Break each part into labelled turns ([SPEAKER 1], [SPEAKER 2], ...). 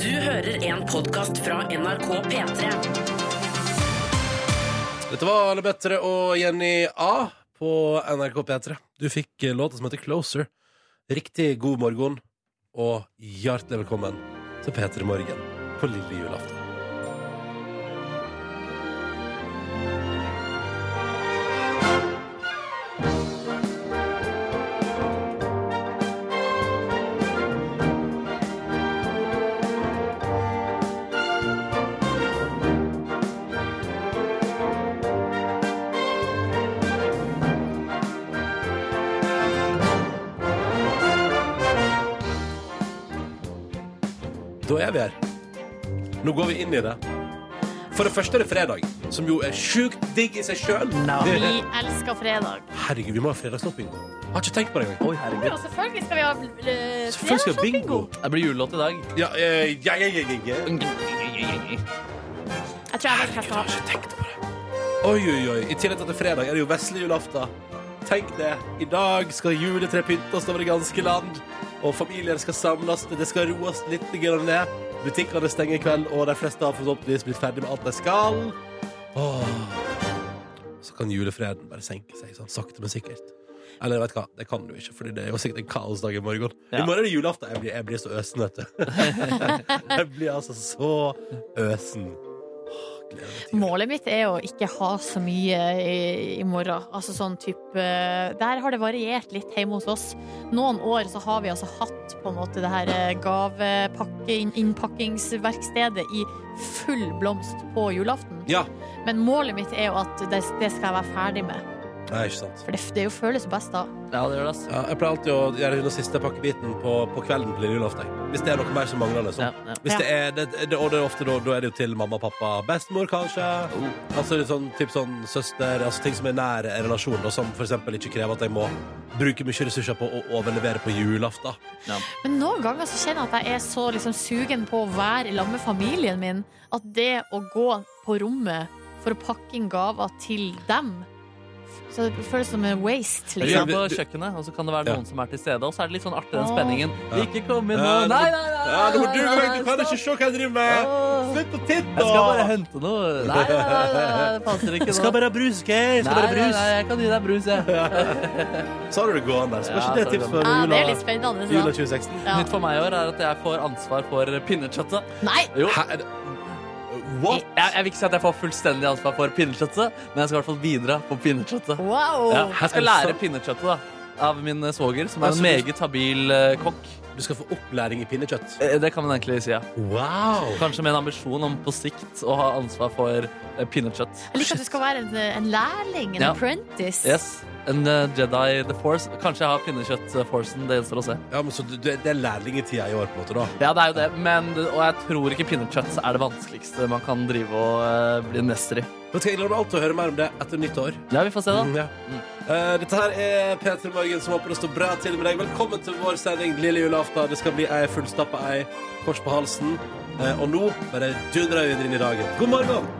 [SPEAKER 1] Du hører en podkast fra NRK P3.
[SPEAKER 2] Dette var Anne Bettere og Jenny A på NRK P3. Du fikk eh, låta som heter Closer. Riktig god morgen, og hjertelig velkommen til P3 Morgen på lille julaften. Da er vi her. Nå går vi inn i det. For det første er det fredag, som jo er sjukt digg i seg sjøl.
[SPEAKER 3] Vi elsker fredag.
[SPEAKER 2] Herregud, vi må ha fredagsshopping. Har ikke tenkt på det engang.
[SPEAKER 4] Oi,
[SPEAKER 3] Ja,
[SPEAKER 4] herregud.
[SPEAKER 3] selvfølgelig skal vi ha eh,
[SPEAKER 2] Selvfølgelig skal vi ha bingo.
[SPEAKER 3] fredagsbingo.
[SPEAKER 4] Det blir julelåt i dag.
[SPEAKER 2] Ja, eh, ja, ja, ja, ja, ja.
[SPEAKER 3] Jeg tror jeg vet hva jeg
[SPEAKER 2] Herregud,
[SPEAKER 3] skal
[SPEAKER 2] har
[SPEAKER 3] ha.
[SPEAKER 2] ikke tenkt på det. Oi, oi, oi. I tillegg til at det er fredag, er det jo vesle julaften. Tenk det. I dag skal juletre pyntes over det ganske land. Og familier skal samles. Det skal roes litt grann ned. Butikkene stenger i kveld, og de fleste har forhåpentligvis blitt ferdig med alt de skal. Åh. Så kan julefreden bare senke seg, sånn sakte, men sikkert. Eller vet du hva, det kan du ikke, Fordi det er jo sikkert en kaosdag i morgen.
[SPEAKER 4] Ja.
[SPEAKER 2] I morgen er det julaften. Jeg blir, jeg blir så øsen, vet du. jeg blir altså så øsen. Åh, gleder meg til jul.
[SPEAKER 3] Målet mitt er å ikke ha så mye i, i morgen. Altså sånn type eh, Der har det variert litt hjemme hos oss. Noen år så har vi altså hatt på en måte det her eh, gavepakke- inn- innpakkingsverkstedet i full blomst på julaften.
[SPEAKER 2] Ja.
[SPEAKER 3] Men målet mitt er jo at det, det skal jeg være ferdig med.
[SPEAKER 2] Nei, ikke sant.
[SPEAKER 3] For det, det jo føles best da.
[SPEAKER 4] Ja, det gjør det, ass.
[SPEAKER 2] Ja, jeg pleier alltid å gjøre den siste pakkebiten på, på kvelden til lille julaften. jeg. Hvis det er noe mer som mangler. Liksom.
[SPEAKER 4] Ja, ja.
[SPEAKER 2] Hvis det er, det, det, og det er ofte da, da er det jo til mamma og pappa. Bestemor, kanskje. Altså litt sånn, typ sånn søster altså Ting som er nær en relasjon, og som f.eks. ikke krever at jeg må bruke mye ressurser på å overlevere på julaften.
[SPEAKER 3] Men noen ganger så kjenner jeg at jeg er så liksom sugen på å være i lag med familien min at det å gå på rommet for å pakke inn gaver til dem Så det føles som en waste,
[SPEAKER 4] Vi
[SPEAKER 2] Ja,
[SPEAKER 4] er
[SPEAKER 3] liksom.
[SPEAKER 4] på
[SPEAKER 2] du-
[SPEAKER 4] kjøkkenet, og så kan det være
[SPEAKER 2] Ja.
[SPEAKER 4] noen som er til stede. Og så er det litt sånn artig, den
[SPEAKER 3] Åh.
[SPEAKER 4] spenningen.
[SPEAKER 2] Ja.
[SPEAKER 4] Ikke kom inn nå!
[SPEAKER 2] Ja,
[SPEAKER 4] Nei, nei, nei!
[SPEAKER 2] Ja, nå må du,
[SPEAKER 4] nei,
[SPEAKER 2] du kan ikke
[SPEAKER 4] stopp.
[SPEAKER 2] se hva jeg driver med!
[SPEAKER 4] Åh.
[SPEAKER 2] Slutt å titte!
[SPEAKER 4] Jeg skal bare hente noe. Nei, nei, nei, nei, nei det passer ikke nå.
[SPEAKER 2] Skal bare ha brus, OK? Skal
[SPEAKER 4] Nei,
[SPEAKER 2] bare ha
[SPEAKER 4] nei,
[SPEAKER 2] brus.
[SPEAKER 4] nei, jeg kan gi deg brus, jeg.
[SPEAKER 2] Så har du det gående. Spørs ikke det
[SPEAKER 4] Ja, så
[SPEAKER 2] er
[SPEAKER 4] er det
[SPEAKER 2] tips
[SPEAKER 4] bra.
[SPEAKER 2] for
[SPEAKER 3] Ja, det er
[SPEAKER 2] jula,
[SPEAKER 3] litt spennende.
[SPEAKER 2] jula
[SPEAKER 3] Så.
[SPEAKER 2] 2016?
[SPEAKER 3] Ja.
[SPEAKER 4] Nytt for meg i år er at jeg får ansvar for pinnekjøttet.
[SPEAKER 3] Nei!
[SPEAKER 4] Jo.
[SPEAKER 2] Hæ? er det- What?
[SPEAKER 4] Jeg, jeg vil ikke si at jeg får fullstendig ansvar for pinnekjøttet, men jeg skal i hvert fall bidra på pinnekjøttet.
[SPEAKER 3] Wow!
[SPEAKER 4] Ja, jeg skal
[SPEAKER 2] Er det
[SPEAKER 4] lære pinnekjøttet da, av min eh, svoger, som er
[SPEAKER 2] Altså,
[SPEAKER 4] en meget habil eh, kokk.
[SPEAKER 2] Du skal få opplæring i pinnekjøtt.
[SPEAKER 4] Eh, Det kan man egentlig si, ja.
[SPEAKER 2] Wow!
[SPEAKER 4] Kanskje med en ambisjon om på sikt å ha ansvar for eh, pinnekjøtt.
[SPEAKER 3] Jeg liker at du skal være en, en lærling, en
[SPEAKER 4] Ja.
[SPEAKER 3] apprentice.
[SPEAKER 4] Yes, en eh, Jedi The Force. Kanskje jeg har pinnekjøtt-forcen, det gjenstår å se.
[SPEAKER 2] Ja, men så du, det er lærlingetida i år, på en måte, da?
[SPEAKER 4] Ja, det er jo det, men og jeg tror ikke pinnekjøtt er det vanskeligste man kan drive og eh, bli mester i.
[SPEAKER 2] Vet du hva, Jeg gleder meg alltid å høre mer om det etter nyttår.
[SPEAKER 4] Ja, vi får se, da.
[SPEAKER 2] Mm, ja. Eh, dette her er P3 Morgen, som håper det står bra til med deg. Velkommen til vår sending lille julaften. Det skal bli ei fullstappa ei, kors på halsen. Eh, og nå bare dundrer vi videre inn i dagen. God morgen!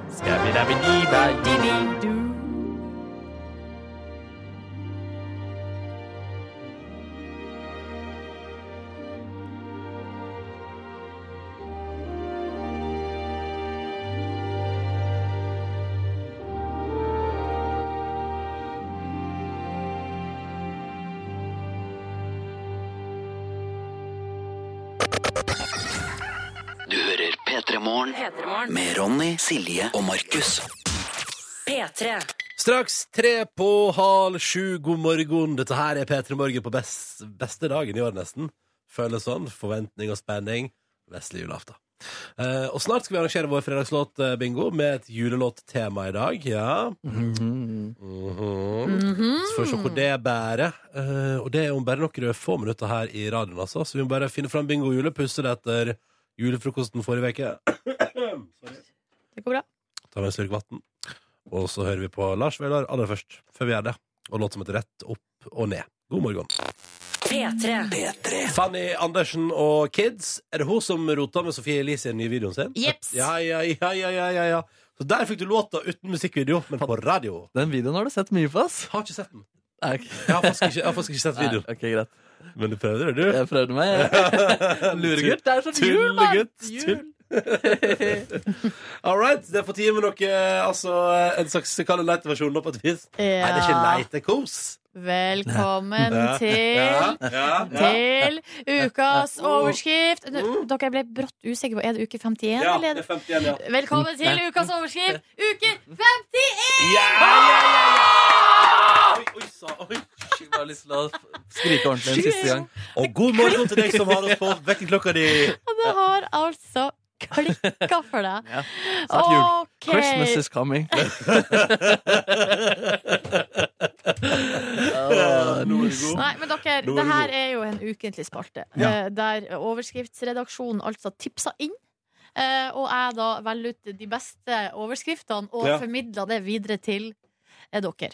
[SPEAKER 5] Du hører P3 Morgen med Ronny, Silje og Markus.
[SPEAKER 1] P3.
[SPEAKER 2] Straks tre på halv sju, god morgen. Dette her er P3 Morgen på best, beste dagen i år, nesten. Føles sånn. Forventning og spenning. Vesle julaften. Eh, og snart skal vi arrangere vår fredagslåt-bingo med et julelåttema i dag. Ja. Mhm. Så får vi se hvor det bærer. Eh, og det er om bare noen få minutter her i radioen, altså. Så vi må bare finne fram bingo-hjulet, pusse det etter julefrokosten forrige uke.
[SPEAKER 3] Det går bra.
[SPEAKER 2] Ta med en slurk vann. Og så hører vi på Lars Vaular aller først, før vi gjør det. Og låt som heter Rett opp og ned. God morgen.
[SPEAKER 1] P3.
[SPEAKER 5] P3.
[SPEAKER 2] Fanny Andersen og Kids. Er det hun som rota med Sofie Elise i den nye videoen sin?
[SPEAKER 3] Jeps.
[SPEAKER 2] Ja, ja, ja, ja, ja, ja, ja. Så der fikk du låta uten musikkvideo, men på radio.
[SPEAKER 4] Den videoen har du sett mye på, ass.
[SPEAKER 2] Jeg har ikke sett den.
[SPEAKER 4] Er det ikke-
[SPEAKER 2] Jeg har faktisk ikke, jeg har faktisk ikke sett
[SPEAKER 4] Nei,
[SPEAKER 2] videoen.
[SPEAKER 4] ok, greit.
[SPEAKER 2] Men du prøvde det, du.
[SPEAKER 4] Jeg prøvde meg. Luregutt. Det er sånn jul, da!
[SPEAKER 2] Tullegutt.
[SPEAKER 4] Jul.
[SPEAKER 2] All right, det er på tide med noe altså, En slags kall det light-versjon, da, på et vis. Nei, det er ikke leit, det er kos.
[SPEAKER 3] Velkommen
[SPEAKER 2] Ja.
[SPEAKER 3] til
[SPEAKER 2] Ja, ja, ja.
[SPEAKER 3] Til ukas
[SPEAKER 4] Mm.
[SPEAKER 3] overskrift. Nå, Dere jeg ble brått usikre på Er det uke 51,
[SPEAKER 2] Ja, det
[SPEAKER 3] eller?
[SPEAKER 2] er 51, ja.
[SPEAKER 3] Velkommen til ukas overskrift, uke 51!
[SPEAKER 2] Ja, ja, ja, ja. Oi, oi, sa, oi.
[SPEAKER 4] Jeg har lyst til å skrike ordentlig en siste gang.
[SPEAKER 2] Og god morgen til deg som har oss på vekkerklokka di.
[SPEAKER 3] Og det har altså klikka for deg.
[SPEAKER 4] Ja, snart jul.
[SPEAKER 3] Ok.
[SPEAKER 4] Christmas is coming. Åh,
[SPEAKER 2] Nå er du god.
[SPEAKER 3] Nei, men
[SPEAKER 2] Nå
[SPEAKER 3] dere,
[SPEAKER 2] er
[SPEAKER 3] det
[SPEAKER 2] du
[SPEAKER 3] her
[SPEAKER 2] god.
[SPEAKER 3] er jo en ukentlig spalte,
[SPEAKER 2] Ja.
[SPEAKER 3] eh, der overskriftsredaksjonen altså tipsa inn. eh, Og jeg da velger ut de beste overskriftene og
[SPEAKER 2] Ja.
[SPEAKER 3] formidler det videre til eh, dere.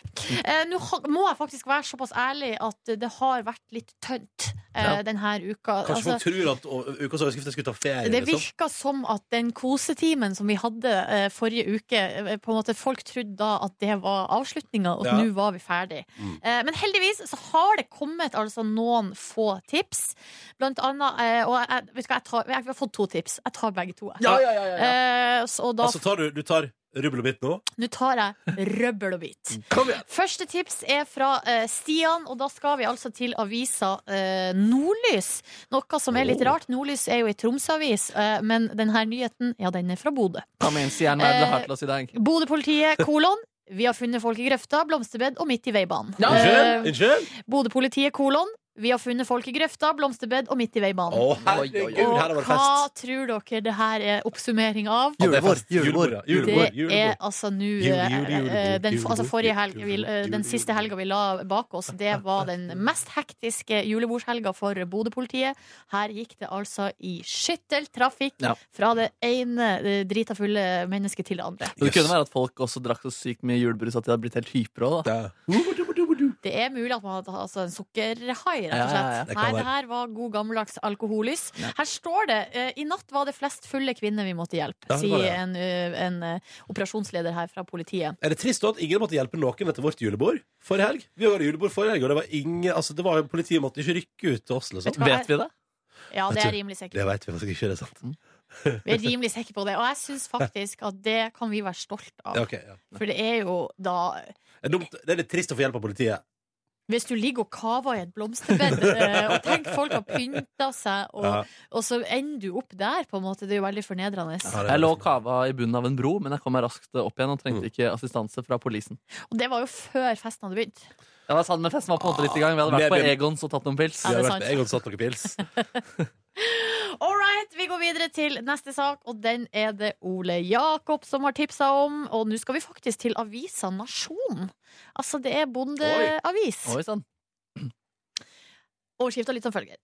[SPEAKER 3] Eh, Nå ha- må jeg faktisk være såpass ærlig at det har vært litt tønt eh,
[SPEAKER 4] Ja.
[SPEAKER 3] denne uka.
[SPEAKER 2] Kanskje
[SPEAKER 3] Altså,
[SPEAKER 2] folk tror at å, ukas overskrifter skulle ta ferie.
[SPEAKER 3] det
[SPEAKER 2] liksom.
[SPEAKER 3] virka som at den kosetimen som vi hadde eh, forrige uke, eh, på en måte folk trodde da at det var avslutninga, og at
[SPEAKER 2] Ja.
[SPEAKER 3] nå var vi ferdig.
[SPEAKER 2] Mm.
[SPEAKER 3] Eh, men heldigvis så har det kommet altså noen få tips. Blant annet eh, Og jeg, vet du hva, jeg, tar, jeg har fått to tips. Jeg tar begge to. jeg.
[SPEAKER 4] Ja, ja, ja, ja, ja.
[SPEAKER 3] Eh, så, og da
[SPEAKER 2] Altså, tar du, du tar rubbel og bit nå?
[SPEAKER 3] Nå tar jeg røbbel og bit.
[SPEAKER 2] Kom igjen!
[SPEAKER 3] Første tips er fra eh, Stian, og da skal vi altså til avisa eh, Nordlys. Noe som er litt rart. Nordlys er jo ei Tromsø-avis, eh, men denne nyheten ja, den er fra Bodø.
[SPEAKER 4] Kom igjen, Stian. Hva er det du har til oss i dag?
[SPEAKER 3] Bodø-politiet, kolon. Vi har funnet folk i grøfta, blomsterbed og midt i veibanen.
[SPEAKER 4] Ja.
[SPEAKER 2] Unnskyld?
[SPEAKER 3] Eh,
[SPEAKER 2] Unnskyld?
[SPEAKER 3] Bodø-politiet, kolon. Vi har funnet folk i grøfta, blomsterbed og midt i
[SPEAKER 2] Å,
[SPEAKER 3] veibanen.
[SPEAKER 2] herregud,
[SPEAKER 4] Gud,
[SPEAKER 2] her har
[SPEAKER 3] og
[SPEAKER 2] det vært
[SPEAKER 3] hva
[SPEAKER 2] fest.
[SPEAKER 3] tror dere det her er oppsummering av?
[SPEAKER 2] Ja, det er
[SPEAKER 6] Julebord,
[SPEAKER 2] fest. Julebord, ja.
[SPEAKER 3] Det
[SPEAKER 2] Julebord.
[SPEAKER 3] er
[SPEAKER 2] julebord.
[SPEAKER 3] altså nå
[SPEAKER 2] Jul,
[SPEAKER 3] eh,
[SPEAKER 2] jul, jul,
[SPEAKER 3] eh, den,
[SPEAKER 2] jul,
[SPEAKER 3] altså
[SPEAKER 2] jul,
[SPEAKER 3] forrige
[SPEAKER 2] jul,
[SPEAKER 3] helg, vi,
[SPEAKER 2] jul,
[SPEAKER 3] eh,
[SPEAKER 2] jul,
[SPEAKER 3] den
[SPEAKER 2] jul,
[SPEAKER 3] siste
[SPEAKER 2] jul.
[SPEAKER 3] helga vi la bak oss, det var den mest hektiske julebordshelga for Bodø-politiet. Her gikk det altså i skytteltrafikk
[SPEAKER 4] Ja.
[SPEAKER 3] fra det ene eh, drita fulle mennesket til det andre.
[SPEAKER 4] Men Det kunne være at folk også drakk så sykt mye julebrus at de hadde blitt helt hyper òg, da.
[SPEAKER 2] Ja. Uhudubudubudu.
[SPEAKER 3] Det er mulig at man hadde altså, en sukkerhai, rett
[SPEAKER 4] Ja,
[SPEAKER 3] og
[SPEAKER 4] ja, ja.
[SPEAKER 3] slett.
[SPEAKER 2] Det kan
[SPEAKER 3] Nei,
[SPEAKER 2] være.
[SPEAKER 3] det her var god gammeldags alkohollys. Her står det eh, i natt var det flest fulle kvinner vi måtte hjelpe,
[SPEAKER 2] Ja, det var
[SPEAKER 3] sier
[SPEAKER 2] det.
[SPEAKER 3] en, eh, en eh, operasjonsleder her fra politiet.
[SPEAKER 2] Er det trist da at ingen måtte hjelpe noen etter vårt julebord forrige helg? Vi var i julebord forrige helg, og det var ingen altså, det var jo Politiet måtte ikke rykke ut til oss.
[SPEAKER 3] Vet
[SPEAKER 2] Liksom.
[SPEAKER 3] du hva?
[SPEAKER 4] Vet vi det?
[SPEAKER 3] Ja, det
[SPEAKER 2] Jeg
[SPEAKER 3] er
[SPEAKER 2] tror-
[SPEAKER 3] jeg rimelig sikkert.
[SPEAKER 2] Det vet vi faktisk ikke, det er sant.
[SPEAKER 3] Mm. Vi er rimelig sikre på det. Og jeg syns faktisk at det kan vi være stolt av.
[SPEAKER 2] Ja, ok, ja.
[SPEAKER 3] For det er jo da
[SPEAKER 2] Det, er dumt, det er litt trist å få hjelp av politiet.
[SPEAKER 3] Hvis du ligger og kaver i et blomsterbed, eh, og tenk folk har pynta seg, og,
[SPEAKER 2] Ja.
[SPEAKER 3] og så ender du opp der, på en måte. Det er jo veldig fornedrende.
[SPEAKER 2] Ja, det er
[SPEAKER 4] Jeg lå og
[SPEAKER 2] vanskelig.
[SPEAKER 4] kava i bunnen av en bro, men jeg kom meg raskt opp igjen og trengte ikke assistanse fra polisen.
[SPEAKER 3] Og det var jo før festen hadde begynt.
[SPEAKER 4] Ja, det er sant, men festen var på en måte litt i gang. Vi hadde vært på
[SPEAKER 2] Medium.
[SPEAKER 4] Egons og tatt noen pils.
[SPEAKER 3] Ja, det er
[SPEAKER 2] Jeg har
[SPEAKER 3] sant.
[SPEAKER 2] vært- Jeg hadde satt noen pils.
[SPEAKER 3] All right, vi går videre til neste sak, og den er det Ole Jakob som har tipsa om. Og nå skal vi faktisk til avisa Nasjon. Altså, det er bondeavis.
[SPEAKER 4] Oi sånn. sann.
[SPEAKER 3] Overskrifta litt som følger.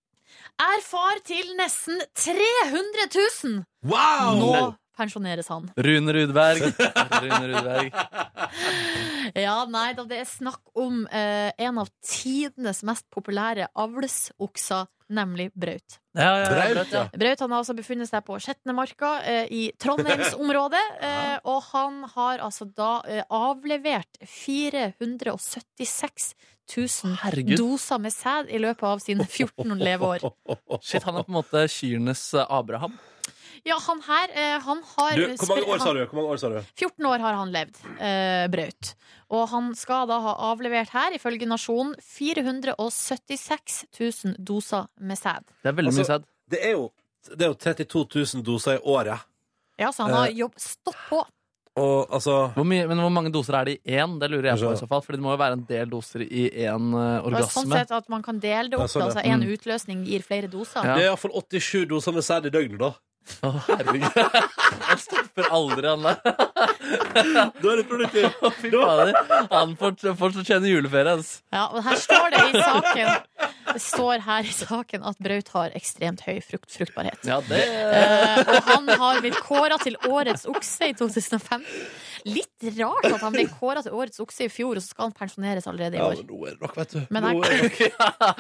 [SPEAKER 3] Er far til nesten 300 000!
[SPEAKER 2] Wow!
[SPEAKER 3] Nå pensjoneres han.
[SPEAKER 4] Rune Rudberg. Rune Rudberg.
[SPEAKER 3] Ja, nei da, det er snakk om eh, en av tidenes mest populære avlsokser, nemlig Braut.
[SPEAKER 4] Ja, ja, ja,
[SPEAKER 2] Braut, ja.
[SPEAKER 3] Braut han har altså befunnet seg på Skjetnemarka eh, i Trondheimsområdet, eh, og han har altså da eh, avlevert 476 000
[SPEAKER 4] Herregud.
[SPEAKER 3] doser med sæd i løpet av sine 14 leveår.
[SPEAKER 4] Shit, han er på en måte kyrnes eh, Abraham.
[SPEAKER 3] Ja, han her, eh, han har
[SPEAKER 2] Du, hvor mange år sa
[SPEAKER 3] han-
[SPEAKER 2] du? Hvor mange år sa du?
[SPEAKER 3] 14 år har han levd, eh, Braut. Og han skal da ha avlevert her, ifølge Nasjonen, 476 000 doser med sæd.
[SPEAKER 4] Det er veldig
[SPEAKER 2] Altså-
[SPEAKER 4] mye sæd.
[SPEAKER 2] Det er jo, det er jo 32 000 doser i året.
[SPEAKER 3] Ja, så han har
[SPEAKER 2] Eh.
[SPEAKER 3] jobb... Stopp på!
[SPEAKER 2] Og altså
[SPEAKER 4] Hvor mye- Men hvor mange doser er det i én? Det lurer jeg på. i
[SPEAKER 2] Altså-
[SPEAKER 4] så fall Fordi det må jo være en del doser i én
[SPEAKER 3] Det er
[SPEAKER 4] eh,
[SPEAKER 3] sånn
[SPEAKER 4] orgasme.
[SPEAKER 3] sett at man kan dele det
[SPEAKER 2] Ja,
[SPEAKER 3] opp.
[SPEAKER 2] sånn, ja.
[SPEAKER 3] altså En utløsning gir flere doser.
[SPEAKER 4] Ja.
[SPEAKER 2] Det er iallfall 87 doser med sæd i døgnet, da.
[SPEAKER 4] Å, herregud. Han stopper aldri, han der.
[SPEAKER 2] Da er det produktivt.
[SPEAKER 4] Å, Fy fader. Han får fortjener juleferie, altså.
[SPEAKER 3] Ja, og her står det i saken Det står her i saken at Braut har ekstremt høy frukt, fruktbarhet.
[SPEAKER 4] Ja, det
[SPEAKER 3] Eh, og han har blitt kåra til årets okse i 2005. Litt rart at han ble kåra til årets okse i fjor, og så skal han pensjoneres allerede i
[SPEAKER 2] Ja,
[SPEAKER 3] år.
[SPEAKER 2] men nå er det nok, vet du.
[SPEAKER 3] Men
[SPEAKER 2] nå
[SPEAKER 3] her-
[SPEAKER 2] er det nok.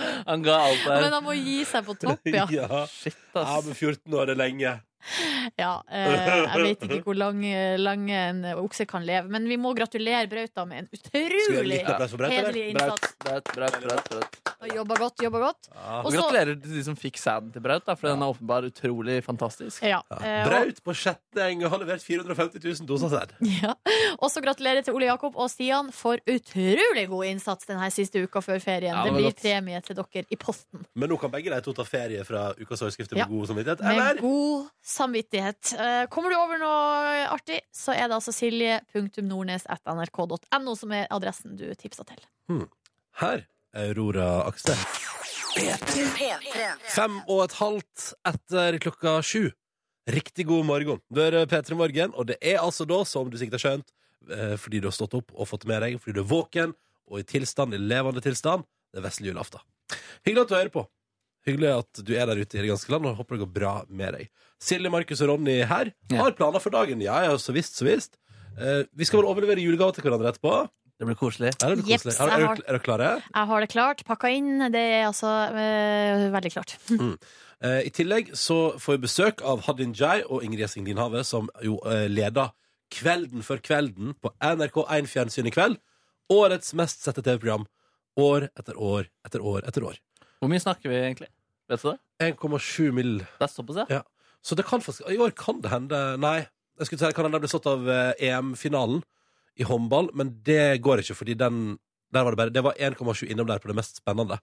[SPEAKER 4] Han ga alt der.
[SPEAKER 3] Men han må gi seg på topp, ja.
[SPEAKER 2] Ja.
[SPEAKER 4] Shit,
[SPEAKER 2] ja,
[SPEAKER 4] ass.
[SPEAKER 2] men 14 år er lenge.
[SPEAKER 3] Ja, eh, jeg vet ikke hvor lang, lang en okse kan leve, men vi må gratulere Brauta med en
[SPEAKER 2] Skal vi gjøre
[SPEAKER 3] utrolig
[SPEAKER 2] en liten applaus for Braut, eller?
[SPEAKER 3] hederlig innsats.
[SPEAKER 4] Braut, braut, braut, braut.
[SPEAKER 3] Og Jobba godt, jobba godt.
[SPEAKER 4] Og
[SPEAKER 3] så-
[SPEAKER 4] gratulerer til de som fikk sæden til Braut, da, for den er åpenbart utrolig fantastisk.
[SPEAKER 3] Ja, eh, og-
[SPEAKER 2] Braut på sjette eng har levert 450 000 doser sæd.
[SPEAKER 3] Ja. Også gratulerer til Ole Jakob og Stian for utrolig god innsats denne siste uka før ferien.
[SPEAKER 4] Ja, det
[SPEAKER 3] det
[SPEAKER 4] var
[SPEAKER 3] blir
[SPEAKER 4] godt.
[SPEAKER 3] premie til dere i posten.
[SPEAKER 2] Men nå kan begge de to ta ferie fra ukas overskrifter med
[SPEAKER 3] Ja.
[SPEAKER 2] god samvittighet.
[SPEAKER 3] Med
[SPEAKER 2] Eller?
[SPEAKER 3] god samvittighet. Eh, Kommer du over noe artig, så er det altså silje.nordnes.nrk.no som er adressen du tipsa til.
[SPEAKER 2] Her. Aurora Akse. Fem og et halvt etter klokka sju. Riktig god morgen. Du er eh, P3 Morgen, og det er altså da, som du sikkert har skjønt, eh, fordi du har stått opp og fått med deg, fordi du er våken og i tilstand, i levende tilstand, det er vesle julaften. Hyggelig at du hører på. Hyggelig at du er der ute i det ganske land, og håper det går bra med deg. Silje, Markus og Ronny her
[SPEAKER 4] Ja.
[SPEAKER 2] har planer for dagen. Ja, ja, så visst, så visst. Eh, vi skal vel overlevere julegaver til hverandre etterpå.
[SPEAKER 4] Det blir koselig.
[SPEAKER 2] Er dere
[SPEAKER 3] Jeps,
[SPEAKER 2] koselig? Er, er,
[SPEAKER 3] jeg
[SPEAKER 2] dere-
[SPEAKER 3] har-
[SPEAKER 2] er dere klare?
[SPEAKER 3] Jeg har det klart. Pakka inn. Det er altså eh, veldig klart.
[SPEAKER 2] Eh, I tillegg så får vi besøk av Hadin Jai og Ingrid Gjessing Dinhave, som jo eh, leder Kvelden for kvelden på NRK1 Fjernsyn i kveld. Årets mest sette TV-program. År etter år etter år etter år.
[SPEAKER 4] Hvor mye snakker vi egentlig? Vet du det?
[SPEAKER 2] 1,7 mill.
[SPEAKER 4] Det er såpass, ja.
[SPEAKER 2] Ja. Så det kan faktisk I år kan det hende Nei, jeg skulle si det kan hende det blir slått av eh, EM-finalen i håndball, men det går ikke, fordi den der var det bare Det var 1,7 innom der på det mest spennende.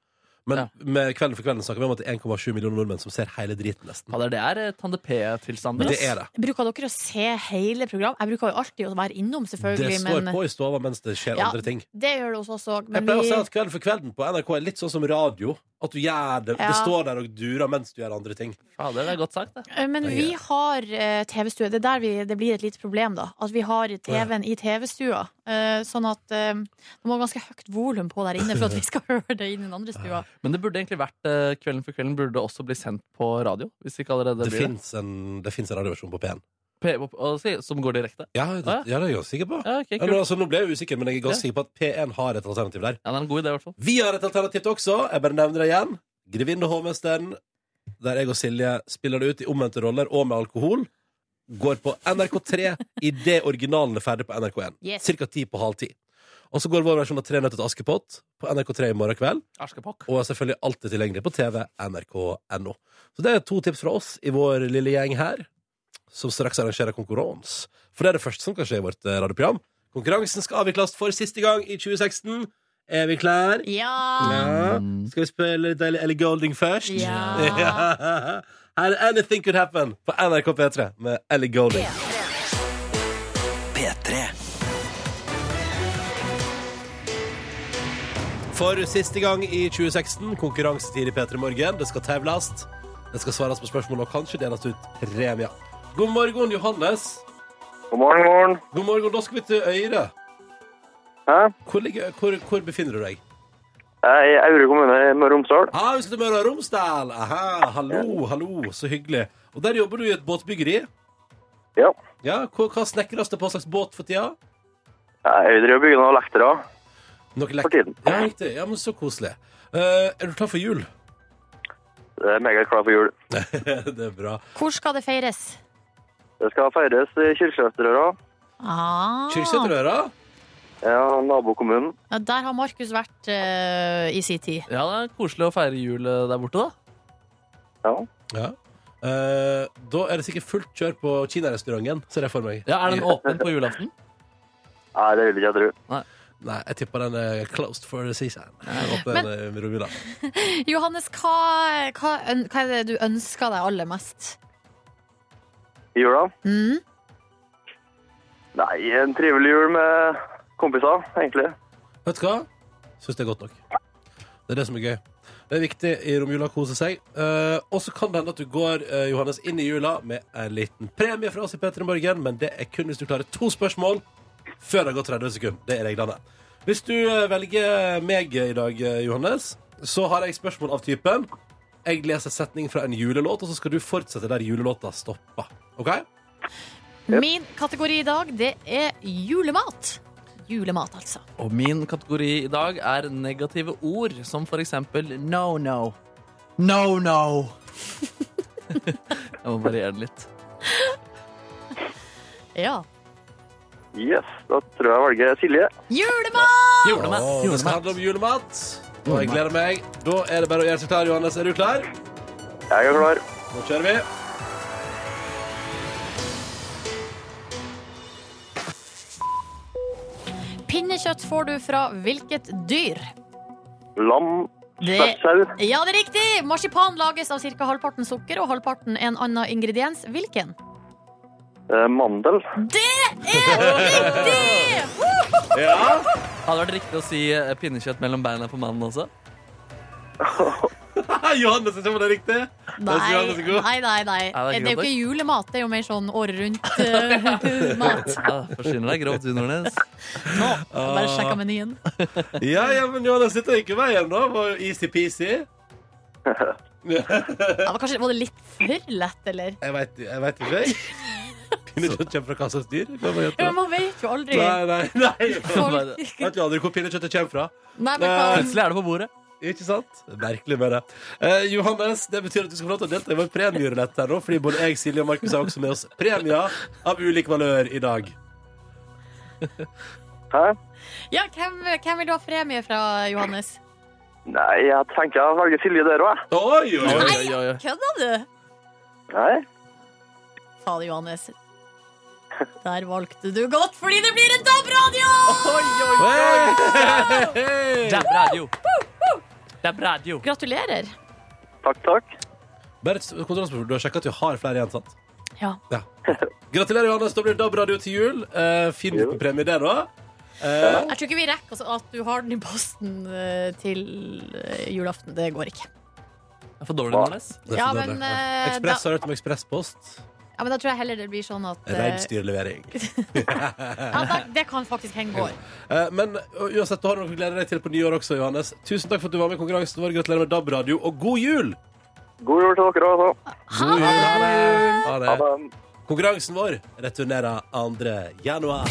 [SPEAKER 2] Men
[SPEAKER 4] Ja.
[SPEAKER 2] med Kvelden for kvelden snakker vi om at det er 1,7 millioner nordmenn som ser hele driten, nesten.
[SPEAKER 4] Fader, det er eh, Tande P-tilstander.
[SPEAKER 2] Det er det.
[SPEAKER 3] Bruker dere å se hele program? Jeg bruker jo alltid å være innom,
[SPEAKER 2] Det
[SPEAKER 3] selvfølgelig.
[SPEAKER 2] står
[SPEAKER 3] men
[SPEAKER 2] på i stova mens det skjer
[SPEAKER 3] Ja,
[SPEAKER 2] andre ting.
[SPEAKER 3] det gjør det hos oss òg.
[SPEAKER 2] Jeg pleier å si at Kvelden for kvelden på NRK er litt sånn som radio. At du gjør det,
[SPEAKER 3] Ja.
[SPEAKER 2] det står der og durer mens du gjør andre ting.
[SPEAKER 4] Fader, det er godt sagt, det.
[SPEAKER 3] Eh, Men
[SPEAKER 2] Nei,
[SPEAKER 3] vi
[SPEAKER 2] ja.
[SPEAKER 3] har eh, TV-stue. Det er der vi, det blir et lite problem, da. At vi har TV-en i TV-stua. Eh, sånn at eh, det må ganske høyt volum på der inne for at vi skal høre det inn i den andre
[SPEAKER 2] Ah.
[SPEAKER 3] stua.
[SPEAKER 4] Men det burde egentlig vært eh, Kvelden for kvelden burde det også bli sendt på radio. Hvis ikke allerede
[SPEAKER 2] Det,
[SPEAKER 4] blir det.
[SPEAKER 2] finnes en, det fins en radioversjon på P1.
[SPEAKER 4] P- og- og si- Som går direkte.
[SPEAKER 2] Ja, det, ja,
[SPEAKER 4] Ah,
[SPEAKER 2] det er jeg ganske sikker på.
[SPEAKER 4] Ja, ok,
[SPEAKER 2] Ja,
[SPEAKER 4] kult.
[SPEAKER 2] nå, altså, nå ble jeg usikker, men jeg er ganske sikker på at P1 har et alternativ der.
[SPEAKER 4] Ja, det er en god idé, i hvert fall.
[SPEAKER 2] Vi har et alternativ også. Jeg bare nevner det igjen. Grevinne og hovmesteren, der jeg og Silje spiller det ut i omvendte roller og med alkohol, går på NRK3 idet originalen er ferdig på NRK1.
[SPEAKER 3] Yes.
[SPEAKER 2] Cirka ti på halv ti. Og så går vår versjon av Tre nøtter til Askepott på NRK3 i morgen kveld.
[SPEAKER 4] Askepott.
[SPEAKER 2] Og er selvfølgelig alltid tilgjengelig på TV, nrk.no. Så det er to tips fra oss i vår lille gjeng her, som straks arrangerer konkurranse. For det er det første som kan skje i vårt eh, radioprogram. Konkurransen skal avvikles for siste gang i 2016. Er vi klar?
[SPEAKER 3] Ja!
[SPEAKER 2] Ja. Skal vi spille litt Ellie Ellie Golding først?
[SPEAKER 3] Ja.
[SPEAKER 2] Ja. Her er Anything Could Happen på NRK P3 med Ellie Golding.
[SPEAKER 5] P3
[SPEAKER 2] For siste gang i 2016, konkurransetid i P3 Morgen. Det skal tevles. Det skal svares på spørsmål, og kanskje deles ut premier. God morgen, Johannes.
[SPEAKER 6] God morgen, god morgen.
[SPEAKER 2] God morgen, da skal vi til Øyre.
[SPEAKER 6] Hæ?
[SPEAKER 2] Hvor, ligger, hvor, hvor befinner du deg?
[SPEAKER 6] Jeg er i Aure kommune i Møre og Romsdal.
[SPEAKER 2] Ah, vi skal til Møre og Romsdal. Aha, hallo, hallo. Så hyggelig. Og der jobber du i et båtbyggeri.
[SPEAKER 6] Ja.
[SPEAKER 2] Ja, hva, hva snekres det på slags båt for tida?
[SPEAKER 6] Jeg driver og bygger noen lektere.
[SPEAKER 2] Noe lek-
[SPEAKER 6] For tiden.
[SPEAKER 2] Ja, riktig. Ja, men så koselig. Eh, er du klar for jul?
[SPEAKER 6] Jeg er meget klar for jul.
[SPEAKER 2] det er bra.
[SPEAKER 3] Hvor skal det feires?
[SPEAKER 6] Det skal feires i Kyrksæterøra.
[SPEAKER 3] Ah,
[SPEAKER 2] Kyrksæterøra?
[SPEAKER 6] Ja, nabokommunen.
[SPEAKER 3] ja, der har Markus vært eh, i sin tid.
[SPEAKER 4] Ja, det er koselig å feire jul eh, der borte, da.
[SPEAKER 6] Ja.
[SPEAKER 2] Ja. Eh, da er det sikkert fullt kjør på kinarestauranten, ser jeg for meg.
[SPEAKER 4] Ja, Er den åpen på julaften?
[SPEAKER 6] Nei, det vil ikke jeg tro.
[SPEAKER 2] Nei, jeg tipper den er closed for the season. eh, Jeg håper
[SPEAKER 3] Men-
[SPEAKER 2] den er romjula.
[SPEAKER 3] Johannes, hva, hva, øn- hva er det du ønsker deg aller mest?
[SPEAKER 6] I jula?
[SPEAKER 3] Mm?
[SPEAKER 6] Nei, en trivelig jul med kompiser, egentlig.
[SPEAKER 2] Vet du hva? Syns det er godt nok. Det er det som er gøy. Det er viktig i romjula å kose seg. Eh, og så kan det hende at du går eh, Johannes, inn i jula med en liten premie fra oss i P3 Morgen, men det er kun hvis du klarer to spørsmål før det har gått 30 sekunder. Det er reglene. Hvis du eh, velger meg i dag, eh, Johannes, så har jeg spørsmål av typen Jeg leser setning fra en julelåt, og så skal du fortsette der julelåta stopper. OK?
[SPEAKER 3] Min kategori i dag, det er julemat. Julemat, altså.
[SPEAKER 4] Og min kategori i dag er negative ord, som for eksempel no, no. No, no. Jeg må variere den litt.
[SPEAKER 3] Ja.
[SPEAKER 6] Yes, da tror jeg jeg velger Silje.
[SPEAKER 3] Julemat!
[SPEAKER 4] Julemat.
[SPEAKER 2] Åh, det skal
[SPEAKER 4] Julemat.
[SPEAKER 2] handle om julemat. Og jeg gleder meg. Da er det bare å gjøre seg klar, Johannes. Er du klar?
[SPEAKER 6] Jeg er klar.
[SPEAKER 2] Nå kjører vi.
[SPEAKER 3] Pinnekjøtt får du fra hvilket dyr?
[SPEAKER 6] Lam,
[SPEAKER 3] Det-
[SPEAKER 6] sau,
[SPEAKER 3] Ja, det er riktig! Marsipan lages av ca. halvparten sukker og halvparten en annen ingrediens. Hvilken?
[SPEAKER 6] eh, mandel.
[SPEAKER 3] Riktig!
[SPEAKER 2] Ja.
[SPEAKER 4] Hadde vært riktig å si eh, pinnekjøtt mellom beina på mannen også.
[SPEAKER 2] Johannes, jeg tror det er riktig.
[SPEAKER 3] Nei,
[SPEAKER 2] Jeg synes Johannes er god.
[SPEAKER 3] nei, nei. nei.
[SPEAKER 4] Ja, det er
[SPEAKER 3] Det er jo
[SPEAKER 4] godt,
[SPEAKER 3] ikke julemat, det er jo mer sånn året eh, rundt-mat.
[SPEAKER 4] Ja, Ah, Forsyner deg grovt, du, Nordnes.
[SPEAKER 3] Nå, jeg bare sjekka menyen.
[SPEAKER 2] Ja, ja, men Johannes, dette gikk jo veien, da. Var jo easy-peasy.
[SPEAKER 3] Ja, men kanskje, var det litt for lett, eller?
[SPEAKER 2] Jeg veit jeg vet ikke. jeg. Pinnekjøtt kommer fra hva slags dyr? La meg
[SPEAKER 3] Ja,
[SPEAKER 2] gjette.
[SPEAKER 3] men man vet jo aldri.
[SPEAKER 2] Nei, nei, nei. Jeg
[SPEAKER 3] Folk...
[SPEAKER 2] vet jo aldri hvor pinnekjøttet kommer fra.
[SPEAKER 3] Nei, men hva...
[SPEAKER 4] Plutselig er det på bordet.
[SPEAKER 2] Ikke sant? Merkelig med det. Eh, Johannes, det betyr at du skal få lov til å delta i vår premierulett her nå, fordi både jeg, Silje og Markus har også med oss premier av ulik valør i dag.
[SPEAKER 6] Hæ?
[SPEAKER 3] Ja, hvem, hvem vil du ha premie fra, Johannes?
[SPEAKER 6] Nei, jeg tenker jeg velger Silje der òg, jeg.
[SPEAKER 2] Oi, oi,
[SPEAKER 4] Oi,
[SPEAKER 2] oi.
[SPEAKER 4] oi, oi, oi.
[SPEAKER 3] Kødda du?
[SPEAKER 6] Nei?
[SPEAKER 3] Fader, Johannes. Der valgte du godt, fordi det blir en DAB-radio!
[SPEAKER 2] Hey, hey,
[SPEAKER 4] Det
[SPEAKER 2] hey.
[SPEAKER 4] er radio. Det er radio.
[SPEAKER 3] Gratulerer.
[SPEAKER 6] Takk, takk.
[SPEAKER 2] Bare et kontrollspørsmål. Du har sjekka at du har flere igjen, sant?
[SPEAKER 3] Ja.
[SPEAKER 2] Gratulerer, Johannes. Da blir det DAB-radio til jul. Eh, fin liten premie, det, da. Eh,
[SPEAKER 3] Jeg tror ikke vi rekker altså, at du har den i posten eh, til eh, julaften. Det går ikke.
[SPEAKER 4] Det er for dårlig, Nordnes.
[SPEAKER 2] Det er
[SPEAKER 3] Ja,
[SPEAKER 2] så deilig.
[SPEAKER 3] men, eh,
[SPEAKER 2] Ekspress
[SPEAKER 3] da-
[SPEAKER 2] har hørt om ekspresspost.
[SPEAKER 3] Ja, men Da tror jeg heller det blir sånn at eh,
[SPEAKER 2] Reinsdyrlevering.
[SPEAKER 3] ja, da, Det kan faktisk henge går.
[SPEAKER 2] Eh, Men ø, uansett, du har noe å glede deg til på nyår også, Johannes. Tusen takk for at du var med i konkurransen vår. Gratulerer med DAB-radio, og god jul!
[SPEAKER 6] God jul til dere også.
[SPEAKER 3] Ha det!
[SPEAKER 2] Ha
[SPEAKER 6] Ha
[SPEAKER 2] det.
[SPEAKER 6] det.
[SPEAKER 2] Konkurransen vår returnerer 2. januar.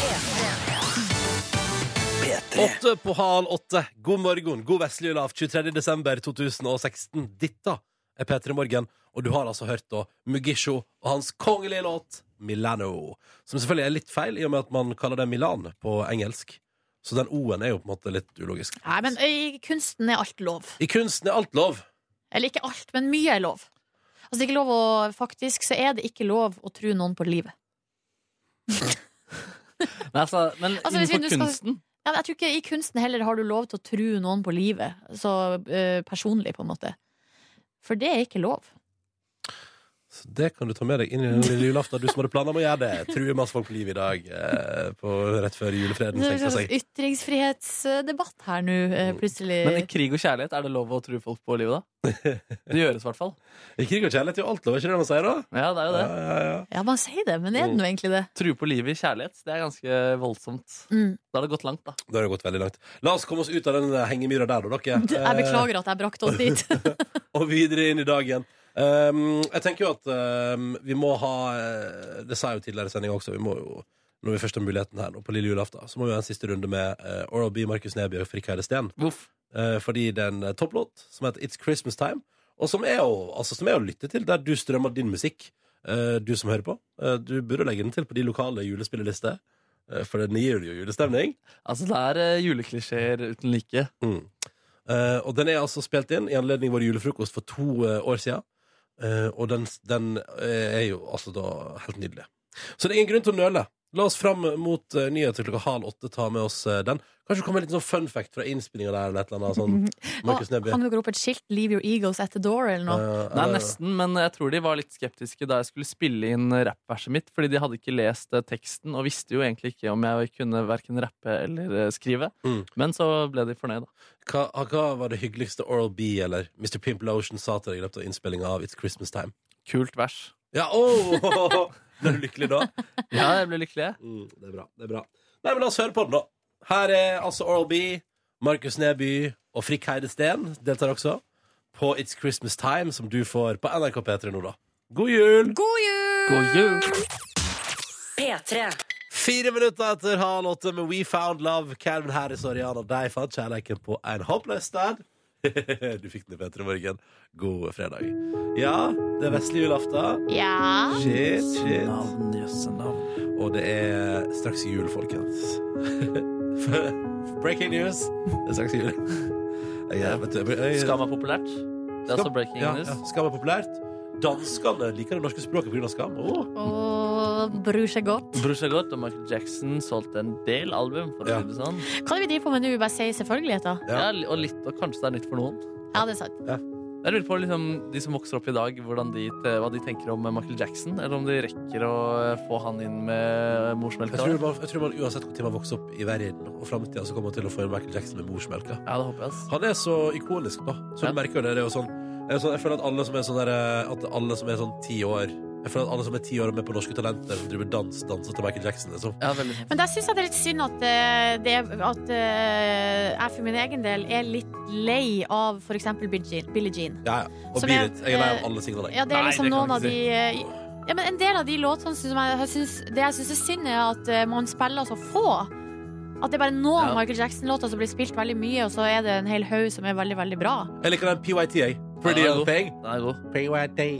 [SPEAKER 2] Åtte på hal åtte. God morgen, god vestlig jul av 23. desember 2016. Dette er P3 Morgen, og du har altså hørt da Mugisho og hans kongelige låt Milano. Som selvfølgelig er litt feil, i og med at man kaller det Milan på engelsk. Så den O-en er jo på en måte litt ulogisk.
[SPEAKER 3] Nei, men i kunsten er alt lov.
[SPEAKER 2] I kunsten er alt lov.
[SPEAKER 3] Eller ikke alt, men mye er lov. Altså, det er ikke lov å, faktisk så er det ikke lov å tro noen på livet.
[SPEAKER 4] Men, altså, men
[SPEAKER 3] Altså, hvis vi
[SPEAKER 4] innenfor
[SPEAKER 3] nå
[SPEAKER 4] kunsten
[SPEAKER 3] Ja, men jeg tror ikke I kunsten heller har du lov til å tro noen på livet. Så eh, personlig, på en måte. For det er ikke lov.
[SPEAKER 2] Så det kan du ta med deg inn i den lille julaften, du som hadde planer om å gjøre det. Truer masse folk på livet i dag, eh, på, rett før julefreden,
[SPEAKER 3] Det er
[SPEAKER 2] tenkte
[SPEAKER 3] en
[SPEAKER 2] jeg.
[SPEAKER 3] slags ytringsfrihetsdebatt her nå, eh, plutselig.
[SPEAKER 4] Men i krig og kjærlighet, er det lov å true folk på livet, da? Det gjøres i hvert fall.
[SPEAKER 2] I krig og kjærlighet er jo alt lov, er ikke det man sier da?
[SPEAKER 4] Ja, det er jo
[SPEAKER 2] Ja,
[SPEAKER 4] det.
[SPEAKER 2] ja, ja.
[SPEAKER 3] Ja, man sier det, men er det nå egentlig det?
[SPEAKER 4] True på livet i kjærlighet, det er ganske voldsomt.
[SPEAKER 3] Mm.
[SPEAKER 4] Da har det gått langt, da.
[SPEAKER 2] Da har det gått veldig langt. La oss komme oss ut av den eh, hengemyra der, da, dere.
[SPEAKER 3] Jeg beklager at jeg brakte oss dit.
[SPEAKER 2] Eh, og videre inn i dagen. Um, jeg tenker jo at um, vi må ha eh, Det sa jeg jo tidligere i sendinga også, vi må jo når vi først har muligheten her nå på lille julaften, så må vi ha en siste runde med eh, Oral B, Markus Neby og Frikk Heide Steen.
[SPEAKER 4] Voff.
[SPEAKER 2] Eh, fordi det er en eh, topplåt som heter It's Christmas Time, og som er å, altså, som er å lytte til, der du strømmer din musikk, eh, du som hører på. Eh, du burde legge den til på de lokale julespillelister, eh, for den gir jo julestemning.
[SPEAKER 4] Altså, det er eh, juleklisjeer uten like.
[SPEAKER 2] Mm. Eh, og den er altså spilt inn i anledning vår julefrokost for to eh, år siden. Eh, og den, den eh, er jo altså da helt nydelig. Så det er ingen grunn til å nøle. La oss fram mot eh, nyheter klokka halv åtte ta med oss eh, den. Kanskje det kommer en liten sånn fun fact fra innspillinga der eller et eller annet sånn. Markus
[SPEAKER 3] Ah, Han
[SPEAKER 2] Neby.
[SPEAKER 3] kan jo gå opp et skilt 'Leave your egos at the door' eller noe.
[SPEAKER 2] Eh,
[SPEAKER 4] Nei,
[SPEAKER 2] eh,
[SPEAKER 4] nesten, men jeg tror de var litt skeptiske da jeg skulle spille inn rappverset mitt, fordi de hadde ikke lest eh, teksten og visste jo egentlig ikke om jeg kunne verken rappe eller eh, skrive.
[SPEAKER 2] Mm.
[SPEAKER 4] Men så ble de fornøyd, da.
[SPEAKER 2] Hva, hva var det hyggeligste Oral B eller Mr. Pimple Ocean sa til deg i løpet av innspillinga av It's Christmas Time?
[SPEAKER 4] Kult vers.
[SPEAKER 2] Ja, åh! Ble du lykkelig da?
[SPEAKER 4] Ja, jeg ble lykkelig, jeg.
[SPEAKER 2] Mm, det er bra. det er bra Nei, men La oss høre på den, da. Her er altså Oral B, Markus Neby og Frikk Heide Steen deltar også på It's Christmas Time, som du får på NRK P3 nå, da. God jul!
[SPEAKER 3] God jul!
[SPEAKER 4] God jul!
[SPEAKER 1] P3.
[SPEAKER 2] Fire minutter etter halv åtte med We Found Love. Calvin Harris og Rihanna, de fant kjærleiken på en håpløs sted. Du fikk den i P3 Morgen. God fredag. Ja, det er vesle julaften.
[SPEAKER 3] Ja.
[SPEAKER 2] Shit, shit.
[SPEAKER 4] Navn, jøsse navn.
[SPEAKER 2] Og det er straks jul, folkens. Breaking news. Det er straks jul. Jeg, er- vet du, jeg, jeg,
[SPEAKER 4] Skam er populært. Det er altså breaking
[SPEAKER 2] ja,
[SPEAKER 4] news.
[SPEAKER 2] Ja, skam er populært. Danskene liker det norske språket pga. skam. Åh.
[SPEAKER 3] Og bryr seg godt.
[SPEAKER 4] Borussia Gott og Michael Jackson solgte en del album. For å
[SPEAKER 2] Ja.
[SPEAKER 4] si det sånn.
[SPEAKER 3] Hva er det vi driver på med nå? Bare si selvfølgeligheter?
[SPEAKER 2] Ja.
[SPEAKER 4] ja. og, litt, og kanskje det er nytt for noen.
[SPEAKER 3] Ja, det er sant.
[SPEAKER 4] Jeg lurer på liksom, de som vokser opp i dag, hvordan de, te- hva de tenker om eh, Michael Jackson. Eller om de rekker å eh, få han inn med eh,
[SPEAKER 2] Jeg,
[SPEAKER 4] morsmelka.
[SPEAKER 2] tror man, jeg tror man uansett hvor tid man vokser opp i verden og framtida, så kommer man til å få en Michael Jackson med morsmelka.
[SPEAKER 4] Ja, det håper jeg. ass.
[SPEAKER 2] Han er så ikonisk, da. Så
[SPEAKER 4] Ja.
[SPEAKER 2] du merker jo det. det er jo sånn, jeg, er sånn, jeg føler at alle som er sånn der, eh, At alle som er sånn ti år Jeg føler at alle som er ti år og med på Norske Talenter, som driver dans, danser til Michael Jackson. Liksom.
[SPEAKER 4] Ja, veldig.
[SPEAKER 3] Men der syns jeg det er litt synd at, eh, det, at eh, jeg for min egen del er litt lei av f.eks. Billie Jean.
[SPEAKER 2] Ja, ja. Og
[SPEAKER 3] Som
[SPEAKER 2] blir
[SPEAKER 3] jeg-
[SPEAKER 2] litt, jeg er lei av alle singlene.
[SPEAKER 3] Ja, det er
[SPEAKER 4] Nei,
[SPEAKER 3] liksom
[SPEAKER 4] det kan
[SPEAKER 3] noen
[SPEAKER 4] du
[SPEAKER 3] av
[SPEAKER 4] ikke
[SPEAKER 3] de eh, ja, men En del av de låtene som jeg, jeg syns Det jeg syns er synd, er at eh, man spiller så få. At det er bare noen
[SPEAKER 4] Ja.
[SPEAKER 3] Michael Jackson-låter som blir spilt veldig mye, og så er det en hel haug som er veldig, veldig bra.
[SPEAKER 2] Jeg liker den PYTA. Pretty
[SPEAKER 4] Ja,
[SPEAKER 2] young
[SPEAKER 4] det
[SPEAKER 2] thing.
[SPEAKER 4] Den er god.
[SPEAKER 2] PYTA.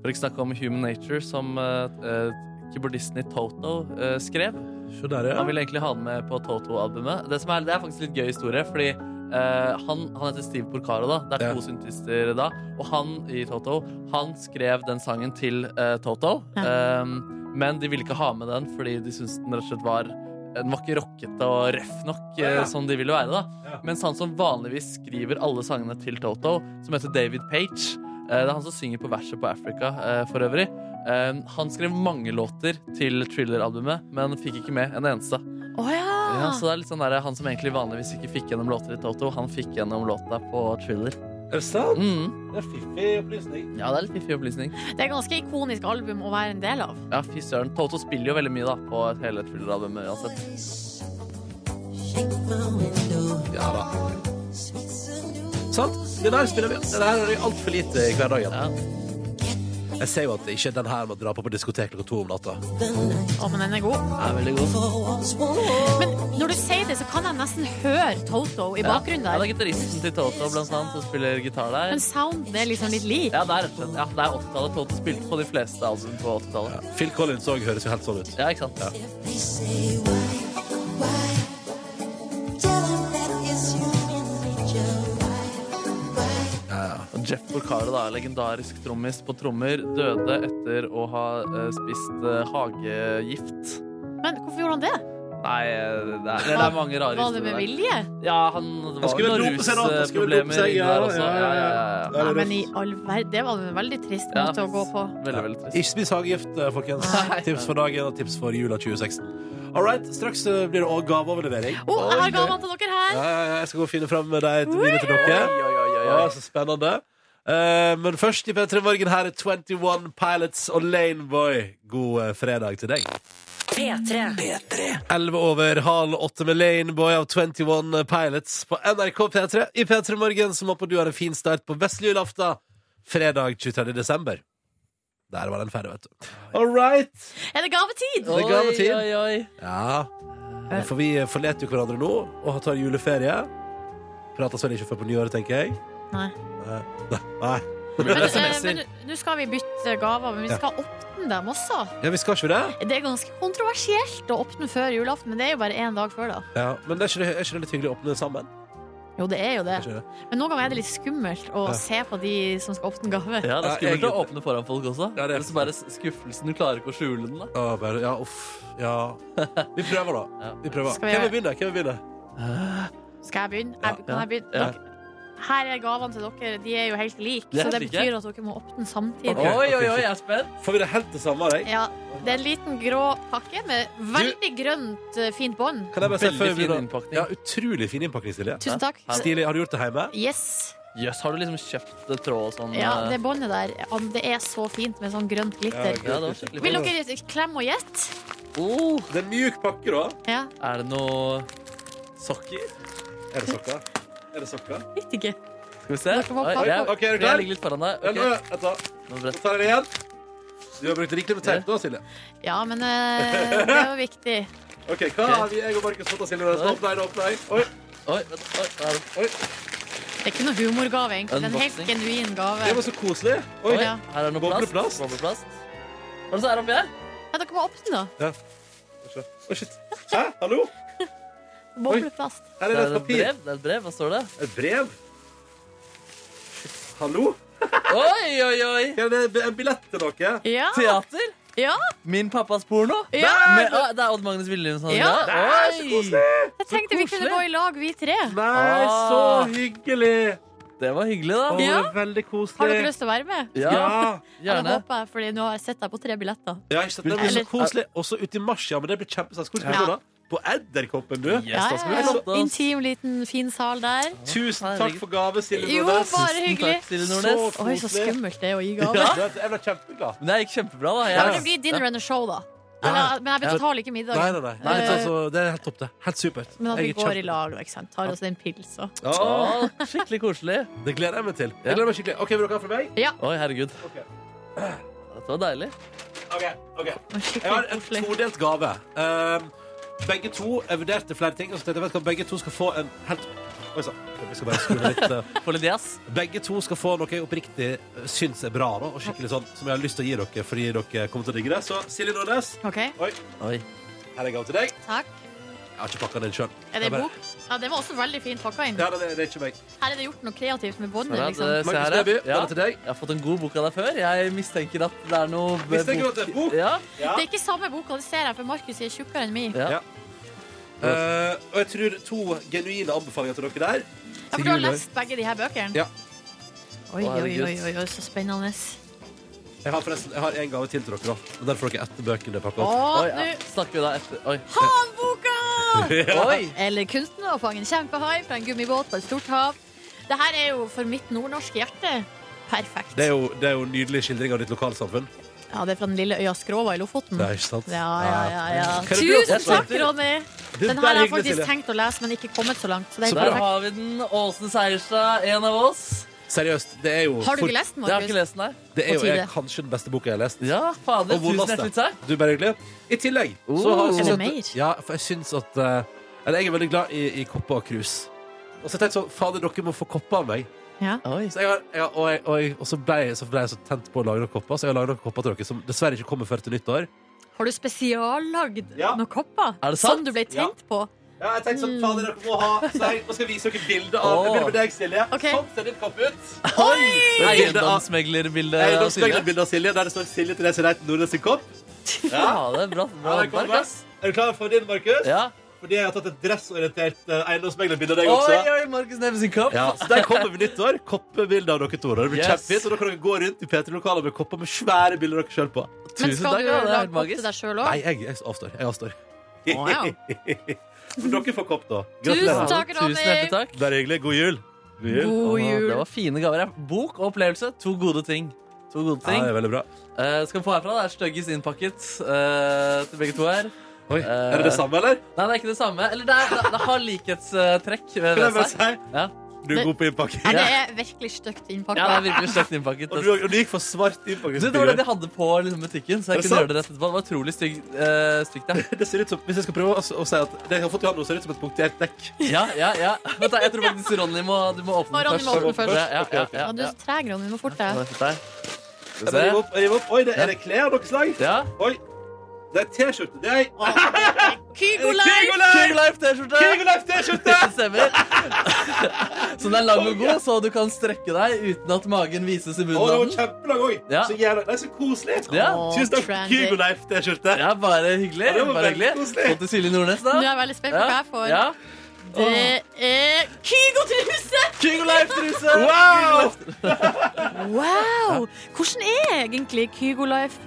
[SPEAKER 4] For ikke å snakke om Human Nature, som eh, eh, keyboardisten i Toto eh, skrev.
[SPEAKER 2] Se der, ja.
[SPEAKER 4] Han ville egentlig ha den med på Toto-albumet. Det, som er, det er faktisk litt gøy historie, fordi eh, han, han heter Steve Porcaro, da. Det er
[SPEAKER 2] Ja.
[SPEAKER 4] to syntister da. Og han i Toto, han skrev den sangen til eh, Toto. Eh, men de ville ikke ha med den fordi de syntes den rett og slett var den var ikke rockete og røff nok eh,
[SPEAKER 2] Ja.
[SPEAKER 4] som de ville være. da
[SPEAKER 2] Ja.
[SPEAKER 4] Mens han som vanligvis skriver alle sangene til Toto, som heter David Page eh, Det er han som synger på verset på Africa eh, for øvrig. Eh, han skrev mange låter til Thriller-albumet, men fikk ikke med en eneste.
[SPEAKER 3] Å ja!
[SPEAKER 4] Ja, så det er litt sånn der, Han som egentlig vanligvis ikke fikk gjennom låter i Toto, han fikk gjennom låta på Thriller.
[SPEAKER 2] Er det sant?
[SPEAKER 4] Mm.
[SPEAKER 2] Det er fiffig opplysning.
[SPEAKER 4] Ja, det er litt fiffig opplysning.
[SPEAKER 3] Det er et ganske ikonisk album å være en del av.
[SPEAKER 4] Ja, fy søren. Toto spiller jo veldig mye da på et hele Thriller-albumet uansett.
[SPEAKER 2] Ja da. Sant? Det der spiller vi. Det der er altfor lite i hverdagen.
[SPEAKER 4] Ja.
[SPEAKER 2] Jeg ser jo at det ikke er den her man drar på på diskotek klokka to om natta.
[SPEAKER 3] Å, men den er god.
[SPEAKER 4] Er veldig god.
[SPEAKER 3] Men når du sier det, så kan jeg nesten høre Toto i bakgrunnen
[SPEAKER 4] Ja,
[SPEAKER 3] der.
[SPEAKER 4] det er gitaristen til Toto blant annet, som spiller gitar der.
[SPEAKER 3] Men sounden er liksom litt lik.
[SPEAKER 4] Ja, det er rett og slett ja, det er 80-tallet. Toto spilte på de fleste album på 80-tallet.
[SPEAKER 2] Phil Collins òg høres jo helt sånn ut.
[SPEAKER 4] Ja, ikke sant? Og Jeff Porcaro, da, legendarisk trommis på trommer, døde etter å ha eh, spist eh, hagegift.
[SPEAKER 3] Men hvorfor gjorde han det?
[SPEAKER 4] Nei, eh, det er, det er mange rare
[SPEAKER 3] Var det med
[SPEAKER 4] historier.
[SPEAKER 3] vilje?
[SPEAKER 4] Ja, han det var
[SPEAKER 2] skulle
[SPEAKER 4] vel noen
[SPEAKER 2] dope seg nå, han skulle dope
[SPEAKER 4] rusproblemer
[SPEAKER 2] seg,
[SPEAKER 4] inni
[SPEAKER 2] ja,
[SPEAKER 4] der også.
[SPEAKER 2] ja,
[SPEAKER 4] Ja,
[SPEAKER 2] ja,
[SPEAKER 4] ja, ja.
[SPEAKER 2] Ja,
[SPEAKER 3] Nei,
[SPEAKER 2] det er
[SPEAKER 3] men i
[SPEAKER 2] røft.
[SPEAKER 3] all verden, det var en veldig trist
[SPEAKER 4] Ja,
[SPEAKER 3] måte å gå på.
[SPEAKER 4] Veldig, veldig trist.
[SPEAKER 2] Ikke spis hagegift, eh, folkens.
[SPEAKER 4] Nei.
[SPEAKER 2] Tips for dagen og tips for jula 2016. All right, straks eh, blir det også gaveoverlevering.
[SPEAKER 3] Å, jeg har gavene til dere
[SPEAKER 2] Ja,
[SPEAKER 3] her!
[SPEAKER 2] ja, ja, jeg skal gå og finne fram med deg til mine til
[SPEAKER 4] Oi,
[SPEAKER 2] dere.
[SPEAKER 4] oi, oi, oi,
[SPEAKER 2] Ja,
[SPEAKER 4] oi.
[SPEAKER 2] så spennende. Eh, men først i P3 Morgen, her er 21 Pilots og Laneboy. God eh, fredag til deg.
[SPEAKER 1] P3.
[SPEAKER 2] 11 over halv åtte med Laneboy av 21 Pilots på NRK P3 i P3 Morgen, som håper du har en fin start på vestlig julaften fredag 23. desember. Der var den ferdig, vet du. All right!
[SPEAKER 3] Er det gavetid?
[SPEAKER 2] Det er gavetid.
[SPEAKER 4] Oi, oi, oi.
[SPEAKER 2] Ja. For vi forlater jo hverandre nå og tar juleferie. Prates vel ikke før på nyåret, tenker jeg.
[SPEAKER 3] Nei.
[SPEAKER 2] Nei. Nei.
[SPEAKER 3] Men,
[SPEAKER 4] Mulig
[SPEAKER 3] eh, men
[SPEAKER 4] SMS-er.
[SPEAKER 3] nå skal vi bytte gaver, men vi
[SPEAKER 2] Ja.
[SPEAKER 3] skal åpne dem også.
[SPEAKER 2] Ja, vi skal ikke det?
[SPEAKER 3] Det er ganske kontroversielt å åpne før julaften, men det er jo bare én dag før, da.
[SPEAKER 2] Ja, men er ikke, det, er ikke det litt hyggelig å åpne sammen?
[SPEAKER 3] Jo, det er jo det.
[SPEAKER 2] Er ikke det?
[SPEAKER 3] Men noen ganger er det litt skummelt å
[SPEAKER 2] Ja.
[SPEAKER 3] se på de som skal åpne gave.
[SPEAKER 4] Ja, det er skummelt
[SPEAKER 2] Ja,
[SPEAKER 4] å åpne foran folk også.
[SPEAKER 2] Ja, det er-
[SPEAKER 4] Eller så bare skuffelsen. Du klarer ikke å skjule den. da
[SPEAKER 2] Å, bare, ja, uff. Ja. Vi prøver, da.
[SPEAKER 4] Ja.
[SPEAKER 2] Vi prøver.
[SPEAKER 3] Skal vi-
[SPEAKER 2] Hvem vil begynne? Hvem vil begynne?
[SPEAKER 3] Skal jeg begynne? Jeg, kan
[SPEAKER 4] Ja.
[SPEAKER 3] jeg begynne?
[SPEAKER 4] Ja.
[SPEAKER 3] Dere- Her er gavene til dere. De er jo helt like,
[SPEAKER 4] De er
[SPEAKER 3] så det
[SPEAKER 4] helt like.
[SPEAKER 3] betyr at dere må åpne samtidig.
[SPEAKER 2] Ok,
[SPEAKER 4] oi, oi,
[SPEAKER 2] ok,
[SPEAKER 4] oi,
[SPEAKER 2] shit.
[SPEAKER 4] jeg er spent.
[SPEAKER 2] Får vi det helt det samme av deg?
[SPEAKER 3] Ja, det er en liten grå pakke med veldig grønt, eh, fint bånd.
[SPEAKER 2] Kan jeg bare si
[SPEAKER 4] Veldig
[SPEAKER 2] før vi
[SPEAKER 4] fin
[SPEAKER 2] begynner?
[SPEAKER 4] innpakning.
[SPEAKER 2] Ja, utrolig fin innpakning, Silje.
[SPEAKER 3] Tusen takk.
[SPEAKER 4] Her-
[SPEAKER 2] Stilig. Har du gjort det hjemme?
[SPEAKER 3] Yes.
[SPEAKER 4] Jøss, har du liksom kjøpt eh, tråd og sånn?
[SPEAKER 3] Ja,
[SPEAKER 4] eh,
[SPEAKER 3] det båndet der. ja, Det er så fint med sånn grønt glitter.
[SPEAKER 4] ja, det var skikkelig
[SPEAKER 3] Vil
[SPEAKER 4] fint.
[SPEAKER 3] dere klemme og gjette?
[SPEAKER 4] Oh,
[SPEAKER 2] Det er en mjuk pakke, da.
[SPEAKER 3] Ja.
[SPEAKER 4] er det noe sokker?
[SPEAKER 2] Er det sokker? Er det sokker?
[SPEAKER 3] Vet ikke.
[SPEAKER 4] Skal vi se.
[SPEAKER 3] Dere må
[SPEAKER 4] Oi,
[SPEAKER 3] pakke
[SPEAKER 4] jeg,
[SPEAKER 3] opp.
[SPEAKER 2] Ok, er du klar?
[SPEAKER 4] jeg ligger litt foran deg.
[SPEAKER 2] Ja, nå,
[SPEAKER 4] Ok,
[SPEAKER 2] vent da.
[SPEAKER 4] nå er
[SPEAKER 2] Nå
[SPEAKER 4] det rett.
[SPEAKER 2] tar jeg det igjen. Du har brukt riktig med teip da, Silje.
[SPEAKER 3] Ja, men eh, det er jo viktig.
[SPEAKER 2] Ok, Hva
[SPEAKER 4] Ok.
[SPEAKER 2] har vi, jeg og Markus fått av Silje? Nå er det åpner jeg, nå åpner jeg. Oi,
[SPEAKER 4] Oi, vent, oi, der er det.
[SPEAKER 3] Det er ikke noe humorgave, egentlig. Det er en helt
[SPEAKER 4] Unboxing.
[SPEAKER 3] genuin
[SPEAKER 2] det
[SPEAKER 3] gave.
[SPEAKER 2] var så koselig. Oi.
[SPEAKER 4] Oi,
[SPEAKER 3] Ja.
[SPEAKER 4] her er det noe plast.
[SPEAKER 2] Bobleplast.
[SPEAKER 4] Bobleplast. Hva er det som er oppi her?
[SPEAKER 3] Ja, dere må åpne, da.
[SPEAKER 2] Ja. ikke. Å, shit. Hæ? Hallo?
[SPEAKER 3] Boblefast.
[SPEAKER 2] Her er
[SPEAKER 4] Det
[SPEAKER 2] det
[SPEAKER 4] er
[SPEAKER 2] et
[SPEAKER 4] et
[SPEAKER 2] papir.
[SPEAKER 4] brev. Det er et brev. Hva står det?
[SPEAKER 2] Et brev? Shit. Hallo?
[SPEAKER 4] Oi, oi, oi!
[SPEAKER 2] Ja, det er en billett til dere.
[SPEAKER 3] Ja.
[SPEAKER 4] Teater?
[SPEAKER 3] Ja.
[SPEAKER 4] Min pappas porno?
[SPEAKER 3] Ja.
[SPEAKER 4] Men, å, det er Odd Magnus Villelund som har
[SPEAKER 3] Ja.
[SPEAKER 4] det? Oi!
[SPEAKER 3] Jeg tenkte vi kunne
[SPEAKER 4] koselig.
[SPEAKER 3] gå i lag, vi tre.
[SPEAKER 2] Nei, så
[SPEAKER 4] Ah.
[SPEAKER 2] hyggelig!
[SPEAKER 4] Det var hyggelig,
[SPEAKER 2] Å,
[SPEAKER 4] da.
[SPEAKER 2] det
[SPEAKER 3] Ja.
[SPEAKER 2] er veldig
[SPEAKER 3] Har dere
[SPEAKER 2] koselig.
[SPEAKER 3] lyst til å være med?
[SPEAKER 4] Ja,
[SPEAKER 2] Ja.
[SPEAKER 3] Ja, det
[SPEAKER 4] gjerne.
[SPEAKER 3] håper jeg, fordi nå har jeg sett deg på tre billetter.
[SPEAKER 2] Ja, ikke sant? Det blir så
[SPEAKER 3] Eller-
[SPEAKER 2] koselig. Også ute i mars, ja. Men det blir kjempestas. Hvor skal vi gå
[SPEAKER 3] Ja.
[SPEAKER 2] da? På Edderkoppen, du.
[SPEAKER 4] Yes, da skal vi
[SPEAKER 2] ja.
[SPEAKER 4] flotte oss.
[SPEAKER 3] Intim, liten, fin sal der.
[SPEAKER 2] Tusen takk for gave, Silje
[SPEAKER 3] Jo,
[SPEAKER 2] Nordnes.
[SPEAKER 3] bare
[SPEAKER 4] Tusen
[SPEAKER 3] hyggelig.
[SPEAKER 4] takk, Silje Nordnes.
[SPEAKER 2] Så
[SPEAKER 3] Oi, så
[SPEAKER 2] koselig.
[SPEAKER 3] skummelt det er å gi
[SPEAKER 2] Ja.
[SPEAKER 3] gave.
[SPEAKER 2] Jeg ble kjempeglad.
[SPEAKER 4] Men det gikk kjempebra, da.
[SPEAKER 3] Ja,
[SPEAKER 4] Jeg-
[SPEAKER 3] men det blir dinner and a show, da.
[SPEAKER 2] Ja.
[SPEAKER 3] Eller, men jeg betaler ikke middag.
[SPEAKER 2] Nei, nei, nei.
[SPEAKER 3] Nei,
[SPEAKER 2] Det er altså- det er helt topp, det. Helt supert.
[SPEAKER 3] Eh, Men at
[SPEAKER 2] Jeg
[SPEAKER 3] vi
[SPEAKER 2] er
[SPEAKER 3] går
[SPEAKER 2] kjempe-
[SPEAKER 3] i lag og ikke sant? tar oss en pils og
[SPEAKER 2] Ja,
[SPEAKER 4] Å, skikkelig koselig.
[SPEAKER 2] det gleder jeg meg til.
[SPEAKER 4] Ja.
[SPEAKER 2] Jeg gleder meg skikkelig. OK, vil dere ha fra meg?
[SPEAKER 4] Oi, herregud.
[SPEAKER 2] Ok.
[SPEAKER 4] Dette var deilig.
[SPEAKER 2] OK. ok.
[SPEAKER 3] og
[SPEAKER 2] Jeg har
[SPEAKER 3] skikkelig
[SPEAKER 2] en
[SPEAKER 3] koselig.
[SPEAKER 2] todelt gave. Um, begge to Jeg vurderte flere ting, og så tenkte jeg vet du hva, begge to skal få en helt Oi sann. Jeg skal bare skru ned litt. eh.
[SPEAKER 4] Få litt jazz.
[SPEAKER 2] Begge to skal få noe jeg oppriktig eh, syns er bra, da, og skikkelig sånn som jeg har lyst til å gi dere fordi dere kommer til å digge det. Så Silje Nordnes,
[SPEAKER 3] OK,
[SPEAKER 2] oi,
[SPEAKER 4] Oi.
[SPEAKER 2] her er gave til deg.
[SPEAKER 3] takk.
[SPEAKER 2] Jeg har ikke pakka den sjøl.
[SPEAKER 3] Er det en bok? Ja, det var også veldig fint pakka inn.
[SPEAKER 2] Ja, det, det er ikke meg.
[SPEAKER 3] Her er det gjort noe kreativt med
[SPEAKER 4] Se
[SPEAKER 3] båndet,
[SPEAKER 4] her,
[SPEAKER 3] liksom.
[SPEAKER 4] eh, se her,
[SPEAKER 2] Markus Neby,
[SPEAKER 4] ja.
[SPEAKER 2] den er til deg.
[SPEAKER 4] Jeg har fått en god bok av deg før. Jeg mistenker at det er noe
[SPEAKER 2] Mistenker at det er bok?
[SPEAKER 4] Ja.
[SPEAKER 2] Ja.
[SPEAKER 3] Det er ikke samme boka, det ser jeg, for Markus er tjukkere enn meg.
[SPEAKER 4] Ja.
[SPEAKER 2] Ja. Eh, og jeg tror to genuine anbefalinger til dere der.
[SPEAKER 3] Ja, for du har lest begge de her bøkene?
[SPEAKER 2] Ja.
[SPEAKER 3] Oi, oi,
[SPEAKER 4] Å, herregud.
[SPEAKER 3] oi, oi, oi, så spennende.
[SPEAKER 2] Jeg har forresten jeg har en gave til til dere. da Og Der får dere etter bøkene. pakket
[SPEAKER 3] Å,
[SPEAKER 2] opp.
[SPEAKER 4] Oi, ja.
[SPEAKER 3] nå
[SPEAKER 4] Snakker vi da etter Oi.
[SPEAKER 3] Ha om boka!
[SPEAKER 4] Oi.
[SPEAKER 3] Eller kunsten å fange en kjempehai fra en gummibåt på et stort hav. Det her er jo for mitt nordnorske hjerte perfekt.
[SPEAKER 2] Det er jo, det er jo en nydelig skildring av ditt lokalsamfunn.
[SPEAKER 3] Ja, det er fra den lille øya Skrova i Lofoten.
[SPEAKER 2] Det er ikke sant?
[SPEAKER 3] Ja, ja, ja, ja.
[SPEAKER 2] Kan du bli
[SPEAKER 3] Tusen
[SPEAKER 2] opptatt?
[SPEAKER 3] takk, Ronny!
[SPEAKER 2] Det der
[SPEAKER 3] Den her har
[SPEAKER 2] er
[SPEAKER 3] jeg
[SPEAKER 2] hyggelig,
[SPEAKER 3] faktisk
[SPEAKER 2] Silje.
[SPEAKER 3] tenkt å lese, men ikke kommet så langt. Så det er
[SPEAKER 2] Så
[SPEAKER 4] Der
[SPEAKER 2] bra.
[SPEAKER 3] perfekt.
[SPEAKER 4] har vi den. Åsen Seierstad, en av oss.
[SPEAKER 2] Seriøst, det er jo,
[SPEAKER 3] Har du
[SPEAKER 2] for-
[SPEAKER 3] ikke lest den,
[SPEAKER 4] Det har jeg ikke
[SPEAKER 3] Markus?
[SPEAKER 4] lest den, nei.
[SPEAKER 2] det er
[SPEAKER 3] på
[SPEAKER 2] jo jeg,
[SPEAKER 3] tide?
[SPEAKER 2] kanskje den beste boka jeg har lest.
[SPEAKER 4] Ja, fader.
[SPEAKER 2] Og
[SPEAKER 4] Tusen
[SPEAKER 2] vondeste.
[SPEAKER 4] hjertelig takk.
[SPEAKER 2] Du, bare hyggelig. I tillegg så
[SPEAKER 4] Oh.
[SPEAKER 2] har
[SPEAKER 4] Er
[SPEAKER 2] jeg
[SPEAKER 4] det
[SPEAKER 3] mer?
[SPEAKER 2] Ja, for jeg syns at eh, Eller jeg er veldig glad i, i kopper og krus. Og så tenkte jeg sånn Fader, dere må få kopper av meg.
[SPEAKER 3] Ja.
[SPEAKER 4] Oi.
[SPEAKER 2] Så jeg har, jeg har, og, jeg, og, jeg, og så ble jeg så, ble jeg så tent på å lage noen kopper, så jeg har lagd noen kopper til dere som dessverre ikke kommer før til nyttår.
[SPEAKER 3] Har du spesiallagd
[SPEAKER 2] Ja.
[SPEAKER 3] noen kopper
[SPEAKER 4] Er det sant?
[SPEAKER 3] som du ble tent på?
[SPEAKER 2] Ja, jeg tenkte sånn, fader, dere må ha Så jeg, Nå skal jeg vise dere bilde
[SPEAKER 4] av- jeg begynner med
[SPEAKER 2] deg, Silje.
[SPEAKER 3] Ok. Sånn
[SPEAKER 2] ser ditt kopp ut.
[SPEAKER 4] Oi!
[SPEAKER 2] Bildet av-
[SPEAKER 4] Eiendomsmeglerbilde.
[SPEAKER 2] Jeg
[SPEAKER 4] av Eh, Silje.
[SPEAKER 2] bilde av Silje, der det står Silje til Reise Reiten Nordnes sin kopp.
[SPEAKER 4] Ja, det er bra, bra
[SPEAKER 2] Ja, det kommer.
[SPEAKER 4] håndverk, ass.
[SPEAKER 2] Er du klar for din, Markus?
[SPEAKER 4] Ja.
[SPEAKER 2] Fordi jeg har tatt et dressorientert eh, eiendomsmeglerbilde av deg
[SPEAKER 4] Oi,
[SPEAKER 2] også.
[SPEAKER 4] oi, Markus Neby sin kopp.
[SPEAKER 2] Ja, så Der kommer vi nyttår. Koppebilder av dere to. da. Det blir
[SPEAKER 4] Yes.
[SPEAKER 2] kjempefint, og Da kan dere gå rundt i P3-lokaler med kopper med svære bilder av dere sjøl på.
[SPEAKER 3] Men
[SPEAKER 4] Tusen
[SPEAKER 3] skal
[SPEAKER 4] takk.
[SPEAKER 3] du
[SPEAKER 4] Ja,
[SPEAKER 3] lage
[SPEAKER 4] det er helt
[SPEAKER 3] kopp til
[SPEAKER 4] magisk.
[SPEAKER 3] deg sjøl
[SPEAKER 2] Nei,
[SPEAKER 3] òg?
[SPEAKER 2] jeg, jeg avstår. Jeg avstår.
[SPEAKER 3] Wow.
[SPEAKER 2] Men dere får kopp, da.
[SPEAKER 3] Tusen
[SPEAKER 2] Gratulerer.
[SPEAKER 3] takk, Ronny.
[SPEAKER 4] Tusen hjertelig takk.
[SPEAKER 2] Bare hyggelig. God jul. God jul.
[SPEAKER 3] God
[SPEAKER 4] Åh,
[SPEAKER 3] jul.
[SPEAKER 4] Det var fine gaver. ja. Bok og opplevelse. To gode ting. To gode
[SPEAKER 2] Ja,
[SPEAKER 4] ting.
[SPEAKER 2] det er veldig bra.
[SPEAKER 4] Eh, skal vi få herfra? Det er Støggis innpakket eh, til begge to her.
[SPEAKER 2] Oi, Er det det samme, eller?
[SPEAKER 4] Nei, Eh, det er ikke det samme. Eller det, er, det, det har likhetstrekk. ved-
[SPEAKER 2] Kan jeg
[SPEAKER 4] ved
[SPEAKER 2] bare
[SPEAKER 4] seg.
[SPEAKER 2] si?
[SPEAKER 4] Ja.
[SPEAKER 2] Du er god på innpakking.
[SPEAKER 3] Nei, det er virkelig stygt innpakka.
[SPEAKER 4] ja, det er virkelig støgt innpakket.
[SPEAKER 2] Og
[SPEAKER 4] ass.
[SPEAKER 2] du, og du gikk for svart innpakking.
[SPEAKER 4] Du, det var det de hadde på liksom, butikken, så
[SPEAKER 2] Er det
[SPEAKER 4] jeg kunne
[SPEAKER 2] sant?
[SPEAKER 4] gjøre det rett etterpå. Det var utrolig stygg, eh, stygt, ja.
[SPEAKER 2] Det ser ut som, Hvis jeg skal prøve å, å si at det jeg har fått i hånden, ser ut som et punktert dekk.
[SPEAKER 4] Ja, ja, ja. Vent, da, jeg tror faktisk Ronny må, du må åpne
[SPEAKER 3] Ja,
[SPEAKER 4] den
[SPEAKER 3] Ronny må
[SPEAKER 4] først.
[SPEAKER 3] åpne først.
[SPEAKER 4] Ja, ja, ja, ja,
[SPEAKER 3] Ja, du er
[SPEAKER 4] ja.
[SPEAKER 3] så treg, Ronny. Du må forte
[SPEAKER 4] Ja,
[SPEAKER 3] deg.
[SPEAKER 4] det er fint der.
[SPEAKER 2] Jeg bare
[SPEAKER 4] Skal vi
[SPEAKER 2] river
[SPEAKER 4] se.
[SPEAKER 2] opp, jeg river opp. Oi, det, er det klær av noe slag?
[SPEAKER 4] Ja.
[SPEAKER 2] Oi, det er T-skjorte. Det er ei
[SPEAKER 3] Kygo
[SPEAKER 2] Kygo
[SPEAKER 3] Life!
[SPEAKER 2] Life!
[SPEAKER 4] King Life T-skjorte!
[SPEAKER 2] Kygo Life T-skjorte!
[SPEAKER 4] Det stemmer. Så den er lang og god, så du kan strekke deg uten at magen vises i
[SPEAKER 2] Å, det var
[SPEAKER 4] bunaden.
[SPEAKER 2] kjempelang òg.
[SPEAKER 4] Ja.
[SPEAKER 2] Så jævla Nei, så koselig.
[SPEAKER 4] Ja.
[SPEAKER 3] Å,
[SPEAKER 2] Tusen takk for
[SPEAKER 3] trendy.
[SPEAKER 2] Kygo Life T-skjorte.
[SPEAKER 4] Ja, bare hyggelig.
[SPEAKER 2] Ja, det var
[SPEAKER 4] Bare
[SPEAKER 2] veldig
[SPEAKER 4] hyggelig.
[SPEAKER 2] koselig.
[SPEAKER 4] Så til Silje Nordnes, da.
[SPEAKER 3] Nå er jeg veldig spent på hva jeg får.
[SPEAKER 4] Ja.
[SPEAKER 3] Det er Kygo-truse!
[SPEAKER 4] King Life-truse!
[SPEAKER 2] Wow!
[SPEAKER 3] Wow! Hvordan er egentlig Kygo Life?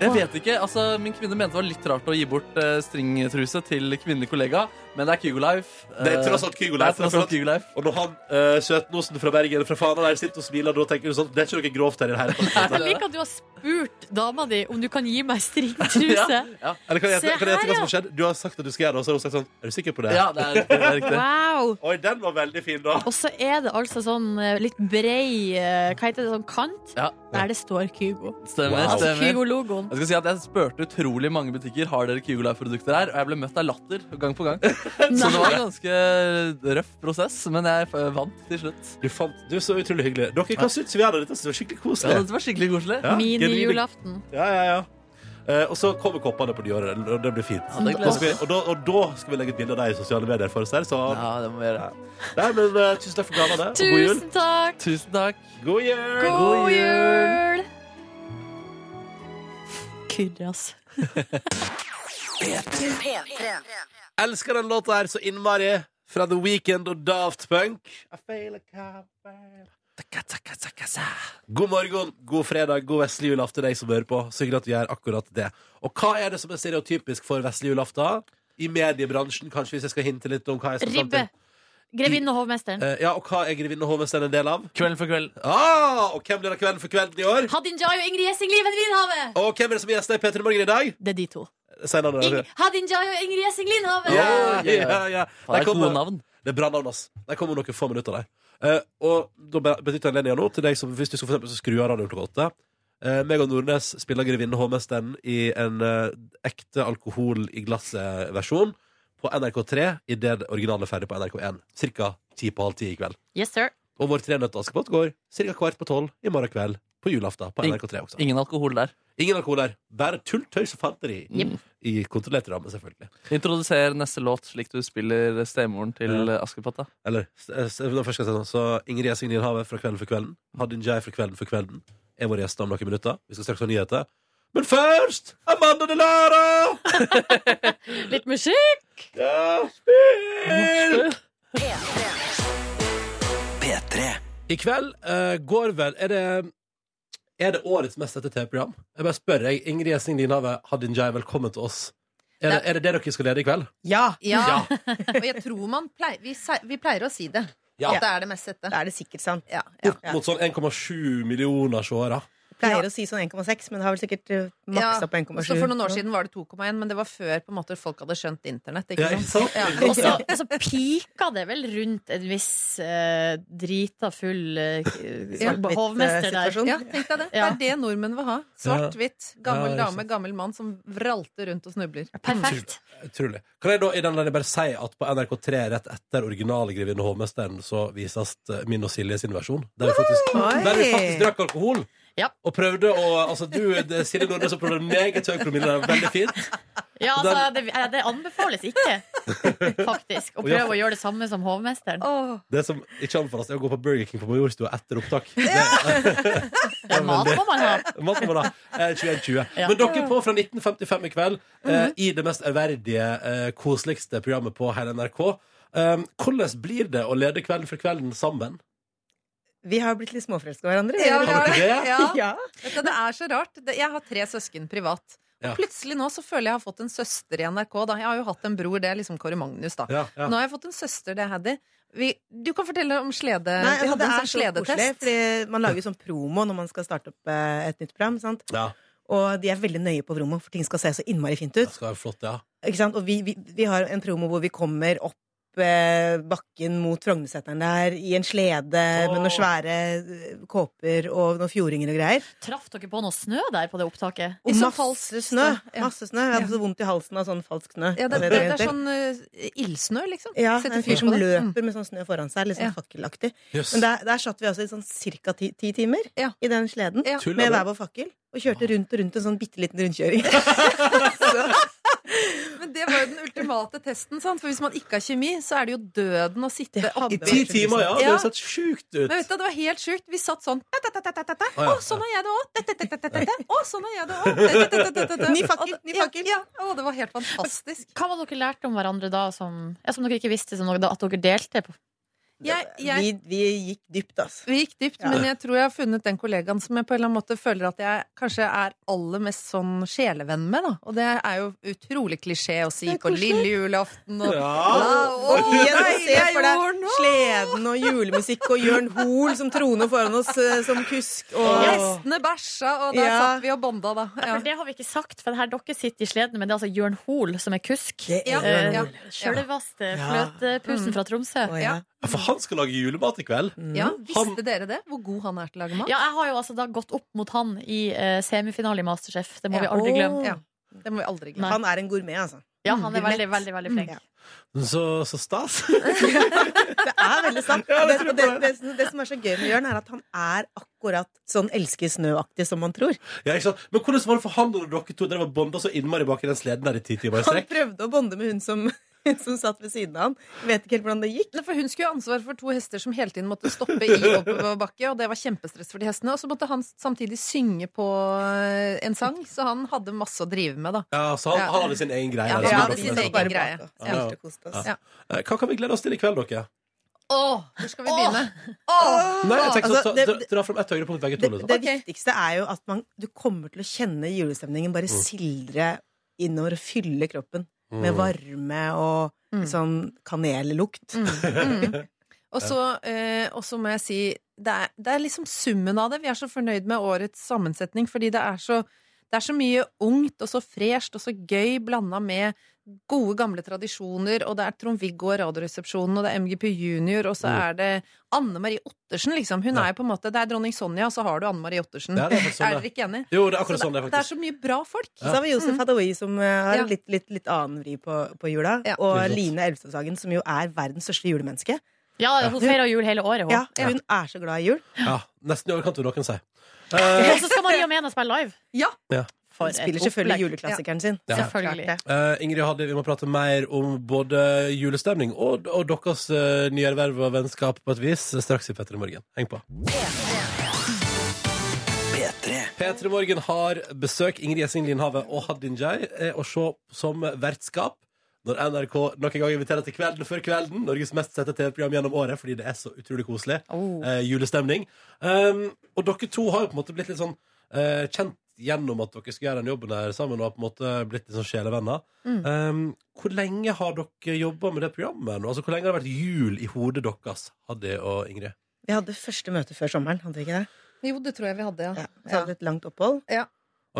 [SPEAKER 4] Jeg vet ikke, altså Min kvinne mente det var litt rart å gi bort eh, stringtruse til kvinnelig kollega, men det er Kygo Life. Eh,
[SPEAKER 2] Det er tross alt Kygo
[SPEAKER 4] det er
[SPEAKER 2] Life.
[SPEAKER 4] tross alt Kygo Life.
[SPEAKER 2] Og når han eh, søtnosen fra Bergen fra Fana der sitter og smiler, da tenker du sånn Det er ikke noe grovt her i det hele tatt.
[SPEAKER 3] Jeg liker at du har spurt dama di om du kan gi meg stringtruse.
[SPEAKER 4] Ja,
[SPEAKER 2] Eller kan jeg
[SPEAKER 3] Se
[SPEAKER 2] gjette kan jeg
[SPEAKER 3] her,
[SPEAKER 2] gjette hva som har skjedd? Du har sagt at du skal gjøre det, og så har hun sagt sånn Er du sikker på det?
[SPEAKER 4] ja det, er, det er riktig.
[SPEAKER 3] Wow!
[SPEAKER 2] Oi, den var veldig fin, da.
[SPEAKER 3] Og så er det altså sånn eh, litt brei eh, Hva heter det? Sånn kant?
[SPEAKER 4] Ja,
[SPEAKER 3] Der det står Kygo.
[SPEAKER 4] stemmer,
[SPEAKER 2] Wow.
[SPEAKER 3] Altså
[SPEAKER 4] stemmer.
[SPEAKER 3] Kygo-logoen.
[SPEAKER 4] Jeg skal si at jeg spurte utrolig mange butikker Har dere Kygo Life-produkter her, og jeg ble møtt av latter gang på gang. Så det var en ganske røff prosess, men jeg f- vant til slutt.
[SPEAKER 2] Du fant Du er så utrolig hyggelig. Dere, hva syns vi er det? Dette var skikkelig
[SPEAKER 4] Ja,
[SPEAKER 2] koselig.
[SPEAKER 4] dette var skikkelig koselig.
[SPEAKER 2] Ja, genuine-
[SPEAKER 3] Mini-julaften.
[SPEAKER 2] Ja, ja, ja. Eh, og så kommer koppene på nyåret, og det blir fint.
[SPEAKER 4] Ja, det gleder
[SPEAKER 2] og, så skal vi, og, da, og da skal vi legge et bilde av deg i sosiale medier for oss her. Så
[SPEAKER 4] Ja, det må vi gjøre.
[SPEAKER 2] sånn. nei, men eh, tusen takk for gavene. og God jul.
[SPEAKER 3] Tusen takk!
[SPEAKER 4] Tusen takk.
[SPEAKER 2] God jul!
[SPEAKER 3] God jul! Kyrre, ass.
[SPEAKER 2] Elsker den låta her så innmari. Fra The Weekend og Daft Punk. I feel like I'm fail. Taka, taka, taka, sa. God morgen, god fredag, god vestlig julaften, deg som hører på. Så hyggelig at vi gjør akkurat det. Og hva er det som er stereotypisk for vestlig julaften? I mediebransjen, kanskje, hvis jeg skal hinte litt om hva jeg skal fram
[SPEAKER 3] Ribbe.
[SPEAKER 2] til.
[SPEAKER 3] Grevinnen og hovmesteren.
[SPEAKER 2] Eh, ja, og hva er Grevinne Hovmesteren en del av?
[SPEAKER 4] Kvelden for kvelden.
[SPEAKER 2] Ah, og hvem blir det Kvelden for kvelden i år?
[SPEAKER 3] Hadin Jai og Ingrid Gjessing Liven Lindhavet!
[SPEAKER 2] Og hvem er det som gjester i P3 Morgen i dag?
[SPEAKER 3] Det er de to.
[SPEAKER 2] Senere.
[SPEAKER 3] Ing Hadin Jai og Ingrid Gjessing Lindhavet!
[SPEAKER 2] Ja,
[SPEAKER 4] Ja,
[SPEAKER 2] ja,
[SPEAKER 4] ja.
[SPEAKER 2] ja.
[SPEAKER 4] Faen, Det
[SPEAKER 2] Der
[SPEAKER 4] er
[SPEAKER 2] kommer-
[SPEAKER 4] gode navn.
[SPEAKER 2] Det er bra navn, ass. De kommer om noen få minutter, de. Eh, og da be- benytter jeg anledningen nå til deg som hvis du skal for eksempel skru av radioen klokka åtte. Eh, meg og Nordnes spiller Grevinne Hovmesteren i en eh, ekte alkohol i glasset-versjon på NRK3 idet det originale er ferdig på NRK1. Cirka ti på halv ti i kveld.
[SPEAKER 3] Yes, sir.
[SPEAKER 2] Og vår Tre nøtter til Askepott går cirka kvart på tolv i morgen kveld på julaften på
[SPEAKER 4] Ing-
[SPEAKER 2] NRK3 også.
[SPEAKER 4] Ingen alkohol der.
[SPEAKER 2] Ingen alkohol der. Bare tull, tøys og fanteri. I kontrollerte rammer, selvfølgelig.
[SPEAKER 4] Introduser neste låt slik du spiller stemoren til eh, Askepott. da.
[SPEAKER 2] Eller s- s- når først skal jeg si sånn, Så Ingrid Gjessing Lindhave fra Kvelden for kvelden. Hadin Jai fra Kvelden for kvelden er vår gjest om noen minutter. Vi skal straks ha nyheter. Men først Amanda Delara!
[SPEAKER 3] Litt musikk!
[SPEAKER 2] Ja, spill!
[SPEAKER 5] P3
[SPEAKER 2] I kveld eh, går vel Er det er det årets mest sette TV-program? Jeg bare spør. jeg Ingrid Gjessing Lindhave, Hadin Jai, velkommen til oss. Er det, er det det dere skal lede i kveld?
[SPEAKER 7] Ja.
[SPEAKER 8] Ja. og jeg tror man pleier vi, si- vi pleier å si det.
[SPEAKER 2] Ja.
[SPEAKER 8] At det er det mest sette.
[SPEAKER 7] Da er det sikkert sant.
[SPEAKER 8] Ja, ja.
[SPEAKER 2] Opp mot sånn 1,7 millioner seere.
[SPEAKER 7] Jeg pleier å si sånn 1,6, men det har vel sikkert eh,
[SPEAKER 8] Ja,
[SPEAKER 7] maksa på
[SPEAKER 8] Og
[SPEAKER 7] 1,7.
[SPEAKER 8] så For noen år siden var det 2,1, men det var før på en måte folk hadde skjønt internett.
[SPEAKER 2] Ja,
[SPEAKER 8] Ikke
[SPEAKER 2] ikke
[SPEAKER 8] sant?
[SPEAKER 2] sant?
[SPEAKER 8] Ja.
[SPEAKER 3] Og så så pika det vel rundt en viss eh, drita full eh,
[SPEAKER 7] Svart-hvitt, eh,
[SPEAKER 3] hovmester der.
[SPEAKER 7] situasjon.
[SPEAKER 8] Ja, tenk deg det. Det
[SPEAKER 3] Ja.
[SPEAKER 8] er det nordmenn vil ha. Svart, hvitt,
[SPEAKER 2] Ja,
[SPEAKER 8] gammel
[SPEAKER 2] ikke
[SPEAKER 8] dame, gammel mann som vralter rundt og snubler.
[SPEAKER 3] Perfekt.
[SPEAKER 2] Utrolig. Kan jeg da i den anledning bare si at på NRK3 rett etter originale Grevinne Hovmesteren så vises eh, min og Silje sin versjon, der vi faktisk,
[SPEAKER 7] Oi!
[SPEAKER 2] der vi faktisk drakk alkohol.
[SPEAKER 3] Ja.
[SPEAKER 2] Og prøvde å Altså, du, det- Silje Nordnes, som prøvde meget høy promille. det er Veldig fint.
[SPEAKER 3] Ja, altså, det, eh, det anbefales ikke, faktisk, å
[SPEAKER 2] Og jeg-
[SPEAKER 3] prøve å gjøre det samme som hovmesteren.
[SPEAKER 2] Det som ikke anbefales, er å gå på Burger King på Majorstua etter opptak. Det-
[SPEAKER 3] Ja, mat må man ha.
[SPEAKER 2] Mat må man ha. Eh, 21.20.
[SPEAKER 3] Ja.
[SPEAKER 2] Men dere på fra 1955 i kveld, eh, i det mest ærverdige, eh, koseligste programmet på hele NRK. Um, hvordan blir det å lede Kvelden for kvelden sammen?
[SPEAKER 7] Vi har blitt litt småforelska i hverandre.
[SPEAKER 8] Ja,
[SPEAKER 7] eller?
[SPEAKER 8] vi har det.
[SPEAKER 2] dere det?
[SPEAKER 8] Ja.
[SPEAKER 7] Ja.
[SPEAKER 8] Vet du, det er så rart. Det- Jeg har tre søsken privat.
[SPEAKER 2] Ja.
[SPEAKER 8] Og plutselig nå så føler jeg jeg har fått en søster i NRK. Da. Jeg har jo hatt en bror, det er liksom Kåre Magnus, da.
[SPEAKER 2] Ja, ja.
[SPEAKER 8] Nå har jeg fått en søster, det er Haddy. Vi, du kan fortelle om slede...
[SPEAKER 7] Nei,
[SPEAKER 8] vi
[SPEAKER 7] altså,
[SPEAKER 8] hadde
[SPEAKER 7] det
[SPEAKER 8] en
[SPEAKER 7] er
[SPEAKER 8] sånn
[SPEAKER 7] så koselig,
[SPEAKER 8] sledetest.
[SPEAKER 7] fordi man lager sånn promo når man skal starte opp eh, et nytt program. Sant?
[SPEAKER 2] ja.
[SPEAKER 7] Og de er veldig nøye på promo, for ting skal se så innmari fint
[SPEAKER 2] Det
[SPEAKER 7] ut.
[SPEAKER 2] skal være flott, ja.
[SPEAKER 7] Ikke sant? Og vi, vi, vi har en promo hvor vi kommer opp eh, bakken mot Frognerseteren der i en slede med noen svære eh, kåper og noen fjordinger og greier.
[SPEAKER 3] Traff dere på noe snø der på det opptaket?
[SPEAKER 8] I
[SPEAKER 7] Og
[SPEAKER 8] sånn falsk
[SPEAKER 7] masse snø!
[SPEAKER 8] snø, ja.
[SPEAKER 7] Masse snø. Jeg hadde så vondt i halsen av sånn falsk snø.
[SPEAKER 8] Ja, det, det,
[SPEAKER 7] Jeg vet hva
[SPEAKER 8] det er
[SPEAKER 7] heter.
[SPEAKER 8] sånn eh, ildsnø, liksom.
[SPEAKER 7] ja,
[SPEAKER 8] Setter
[SPEAKER 7] en
[SPEAKER 8] fyr
[SPEAKER 7] fyr som
[SPEAKER 8] på det. Mm.
[SPEAKER 7] løper med sånn snø foran seg, litt sånn
[SPEAKER 8] Ja.
[SPEAKER 7] fakkelaktig.
[SPEAKER 2] Jøss.
[SPEAKER 7] Men der, der satt vi altså i sånn cirka ti, ti timer
[SPEAKER 8] Ja.
[SPEAKER 7] i den sleden
[SPEAKER 8] Ja.
[SPEAKER 2] Tuller
[SPEAKER 7] med
[SPEAKER 2] du?
[SPEAKER 7] hver vår fakkel, og kjørte rundt og rundt en sånn bitte liten rundkjøring. så,
[SPEAKER 8] Mm. Men det var jo den ultimate testen, sant? for hvis man ikke har kjemi, så er det jo døden å sitte
[SPEAKER 7] Det liksom- hadde
[SPEAKER 8] oppi
[SPEAKER 2] I ti timer, ja. Det
[SPEAKER 8] Ja.
[SPEAKER 2] har sett sjukt ut.
[SPEAKER 8] Men vet du, Det var helt sjukt. Vi satt sånn «Tæ, tæ, tæ, tæ, tæ, tæ.
[SPEAKER 2] Å,
[SPEAKER 8] Å,
[SPEAKER 2] ja.
[SPEAKER 8] sånn er jeg det òg! Å, sånn er jeg det òg!
[SPEAKER 7] Ny fakkel, ny fakkel.
[SPEAKER 8] Ja, ja. Å, det var helt fantastisk.
[SPEAKER 3] Hva var dere lærte om hverandre da som, ja, som dere ikke visste, som dere, at dere delte på?
[SPEAKER 8] Jeg, jeg,
[SPEAKER 7] Vi, vi gikk dypt, altså.
[SPEAKER 8] vi gikk dypt,
[SPEAKER 7] Ja.
[SPEAKER 8] men jeg tror jeg har funnet den kollegaen som jeg på en eller annen måte føler at jeg kanskje er aller mest sånn sjelevenn med, da. Og det er jo utrolig klisjé å si
[SPEAKER 7] Det er
[SPEAKER 8] på
[SPEAKER 7] koselig.
[SPEAKER 8] lille julaften og
[SPEAKER 2] Ja.
[SPEAKER 8] Å,
[SPEAKER 7] Og igjen å
[SPEAKER 8] deilig
[SPEAKER 7] se
[SPEAKER 8] er
[SPEAKER 7] for deg
[SPEAKER 8] jorden, å.
[SPEAKER 7] sleden og julemusikk og Jørn Hoel som troner foran oss eh, som kusk. Og
[SPEAKER 8] Gjestene bæsja, og der
[SPEAKER 7] Ja.
[SPEAKER 8] satt vi og bonda, da. Ja.
[SPEAKER 3] For det har vi ikke sagt, for det her dere sitter i sleden, men det er altså Jørn Hoel som er kusk.
[SPEAKER 7] det
[SPEAKER 8] Ja,
[SPEAKER 7] er Jørn
[SPEAKER 8] ja.
[SPEAKER 7] Hoel.
[SPEAKER 3] Sjølveste
[SPEAKER 7] Ja.
[SPEAKER 3] fløtepusen
[SPEAKER 8] Mm.
[SPEAKER 3] fra Tromsø.
[SPEAKER 7] Å, ja.
[SPEAKER 2] For han skal lage julemat i kveld.
[SPEAKER 8] Ja,
[SPEAKER 7] Mm.
[SPEAKER 2] Han-
[SPEAKER 8] Visste dere det? Hvor god han er til å lage mat?
[SPEAKER 3] Ja, jeg har jo altså da gått opp mot han i eh, semifinale i Masterchef. Det må
[SPEAKER 8] Ja.
[SPEAKER 3] vi aldri glemme.
[SPEAKER 8] Ja. Det må vi aldri glemme.
[SPEAKER 3] Nei.
[SPEAKER 7] Han er en gourmet, altså.
[SPEAKER 3] Ja, han er
[SPEAKER 7] Gourmet.
[SPEAKER 3] veldig, veldig, veldig flink.
[SPEAKER 7] Ja.
[SPEAKER 2] Så, så stas.
[SPEAKER 7] Det er veldig sant.
[SPEAKER 2] Ja,
[SPEAKER 7] det,
[SPEAKER 2] jeg tror
[SPEAKER 7] det,
[SPEAKER 2] på
[SPEAKER 7] det, det, som er så gøy med Jørn, er at han er akkurat sånn elsker snøaktig som man tror.
[SPEAKER 2] ja, ikke sant? Men hvordan var det for han når dere to dere var bonda så innmari bak i den sleden der i ti timer i
[SPEAKER 7] Han
[SPEAKER 2] strekk?
[SPEAKER 7] prøvde å bonde med hun som, som satt ved siden av han. Vet ikke helt hvordan det gikk.
[SPEAKER 8] Nei, For Hun skulle jo ha ansvar for to hester som hele tiden måtte stoppe i oppoverbakke. Og det var kjempestress for de hestene. Og så måtte han samtidig synge på eh, en sang, så han hadde masse å drive med, da.
[SPEAKER 2] Ja, så han,
[SPEAKER 8] Ja.
[SPEAKER 2] han hadde sin egen greie.
[SPEAKER 8] Ja,
[SPEAKER 2] der,
[SPEAKER 8] han
[SPEAKER 2] som
[SPEAKER 8] hadde
[SPEAKER 2] dere
[SPEAKER 8] sin
[SPEAKER 2] med.
[SPEAKER 8] egen
[SPEAKER 7] Bare
[SPEAKER 8] greie.
[SPEAKER 7] bak
[SPEAKER 2] Ja.
[SPEAKER 7] og spilte og koste oss.
[SPEAKER 8] Ja.
[SPEAKER 2] Eh, Hva kan vi glede oss til i kveld, dere?
[SPEAKER 8] Åh, hvor skal vi begynne?
[SPEAKER 2] Nei, jeg tenker
[SPEAKER 7] Altså,
[SPEAKER 2] sånn,
[SPEAKER 7] det-
[SPEAKER 2] dra, dra frem ett høyrepunkt begge
[SPEAKER 7] Det,
[SPEAKER 2] to. Liksom.
[SPEAKER 7] det viktigste er jo at man, du kommer til å kjenne julestemningen
[SPEAKER 2] Mm.
[SPEAKER 7] bare sildre innover og fylle kroppen
[SPEAKER 2] Mm.
[SPEAKER 7] med varme og
[SPEAKER 8] Mm.
[SPEAKER 7] sånn kanellukt.
[SPEAKER 8] Mm. Og så eh, og så må jeg si det er, det er liksom summen av det. Vi er så fornøyd med årets sammensetning, fordi det er så, det er så mye ungt og så fresht og så gøy blanda med gode, gamle tradisjoner, og det er Trond-Viggo og Radioresepsjonen, og det er MGP Junior, og så
[SPEAKER 2] Mm.
[SPEAKER 8] er det Anne Marie Ottersen, liksom. Hun
[SPEAKER 2] Ja.
[SPEAKER 8] er jo på en måte Det er dronning Sonja, og så har du Anne Marie Ottersen.
[SPEAKER 2] Ja, det er faktisk sånn
[SPEAKER 8] er
[SPEAKER 2] det.
[SPEAKER 8] dere ikke enig?
[SPEAKER 2] Jo, det er
[SPEAKER 8] Så
[SPEAKER 2] akkurat sånn det er,
[SPEAKER 8] det er
[SPEAKER 2] faktisk.
[SPEAKER 8] så mye bra folk.
[SPEAKER 2] Ja.
[SPEAKER 7] Så har vi Josef Hadaoui, som eh, har
[SPEAKER 8] Ja.
[SPEAKER 7] litt, litt, litt annen vri på, på jula.
[SPEAKER 8] Ja.
[SPEAKER 7] Og
[SPEAKER 2] Veldig godt.
[SPEAKER 7] Line Elvestadsagen, som jo er verdens største julemenneske.
[SPEAKER 3] Ja, hun feirer jul hele året, hun.
[SPEAKER 7] Ja, hun er så glad i jul.
[SPEAKER 2] Ja, nesten i overkant, vil noen si.
[SPEAKER 3] Og
[SPEAKER 2] Eh,
[SPEAKER 3] så skal Maria Mena spille live.
[SPEAKER 8] Ja.
[SPEAKER 2] Ja.
[SPEAKER 3] For
[SPEAKER 7] Hun
[SPEAKER 3] et
[SPEAKER 7] spiller selvfølgelig
[SPEAKER 3] opplegg.
[SPEAKER 7] juleklassikeren sin.
[SPEAKER 2] Ja.
[SPEAKER 3] Selvfølgelig.
[SPEAKER 7] Klart det.
[SPEAKER 2] eh, Ingrid Hadde, vi må prate mer om både julestemning og, og deres uh, nye erverv og vennskap på et vis eh, straks i Petter i morgen. Heng på.
[SPEAKER 5] P3.
[SPEAKER 2] P3 Morgen har besøk Ingrid Gjessing Lindhave og Haddin Jai eh, å se som vertskap når NRK noen gang inviterer til Kvelden før kvelden. Norges mest sette TV-program gjennom året fordi det er så utrolig koselig. Eh, julestemning. Um, og dere to har jo på en måte blitt litt sånn eh, kjent gjennom at dere skal gjøre den jobben her sammen og har på en måte blitt litt sånn sjelevenner. Um, hvor lenge har dere jobba med det programmet nå? Altså, hvor lenge har det vært jul i hodet deres, Haddi og Ingrid?
[SPEAKER 7] Vi hadde første møte før sommeren, hadde vi ikke det?
[SPEAKER 8] Jo, det tror jeg vi hadde,
[SPEAKER 7] Ja.
[SPEAKER 8] ja.
[SPEAKER 7] Så hadde vi et langt opphold.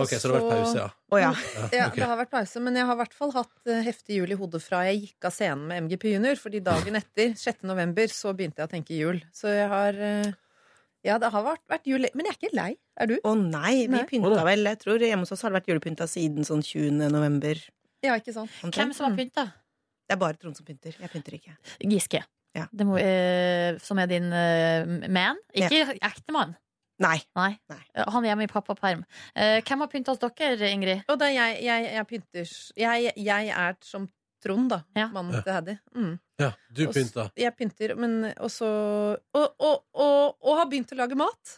[SPEAKER 2] OK, så det har vært
[SPEAKER 8] Så-
[SPEAKER 2] pause, ja.
[SPEAKER 7] Å ja.
[SPEAKER 8] Ja,
[SPEAKER 2] ok.
[SPEAKER 8] det har vært pause, men jeg har i hvert fall hatt eh, heftig jul i hodet fra jeg gikk av scenen med MGP Junior, fordi dagen etter, 6. november, så begynte jeg å tenke jul. Så jeg har eh, Ja, det har vært, vært jul Men jeg er ikke lei. Er du?
[SPEAKER 7] Å nei, vi
[SPEAKER 8] Nei.
[SPEAKER 7] pynta vel. Jeg tror hjemme hos oss har det vært julepynta siden sånn 20. november.
[SPEAKER 8] Ja, ikke sånn. sant?
[SPEAKER 3] Hvem
[SPEAKER 7] omtrent.
[SPEAKER 3] som har pynta?
[SPEAKER 7] Det er bare Trond som pynter. Jeg pynter ikke.
[SPEAKER 3] Giske.
[SPEAKER 7] Ja.
[SPEAKER 3] Det må, eh, som er din eh, man. Ikke ektemann.
[SPEAKER 7] Nei.
[SPEAKER 3] Nei.
[SPEAKER 7] Nei.
[SPEAKER 3] Eh, Han er hjemme i pappaperm. Eh, hvem har pynta hos dere, Ingrid?
[SPEAKER 8] Og da jeg, jeg, jeg pynter s- jeg, jeg er som Trond, da.
[SPEAKER 3] Ja.
[SPEAKER 8] Mannen til Haddy. Mm.
[SPEAKER 2] Ja, du
[SPEAKER 8] Og s-
[SPEAKER 2] pynta.
[SPEAKER 8] Jeg pynter, men også Og, og, og, og har begynt å lage mat.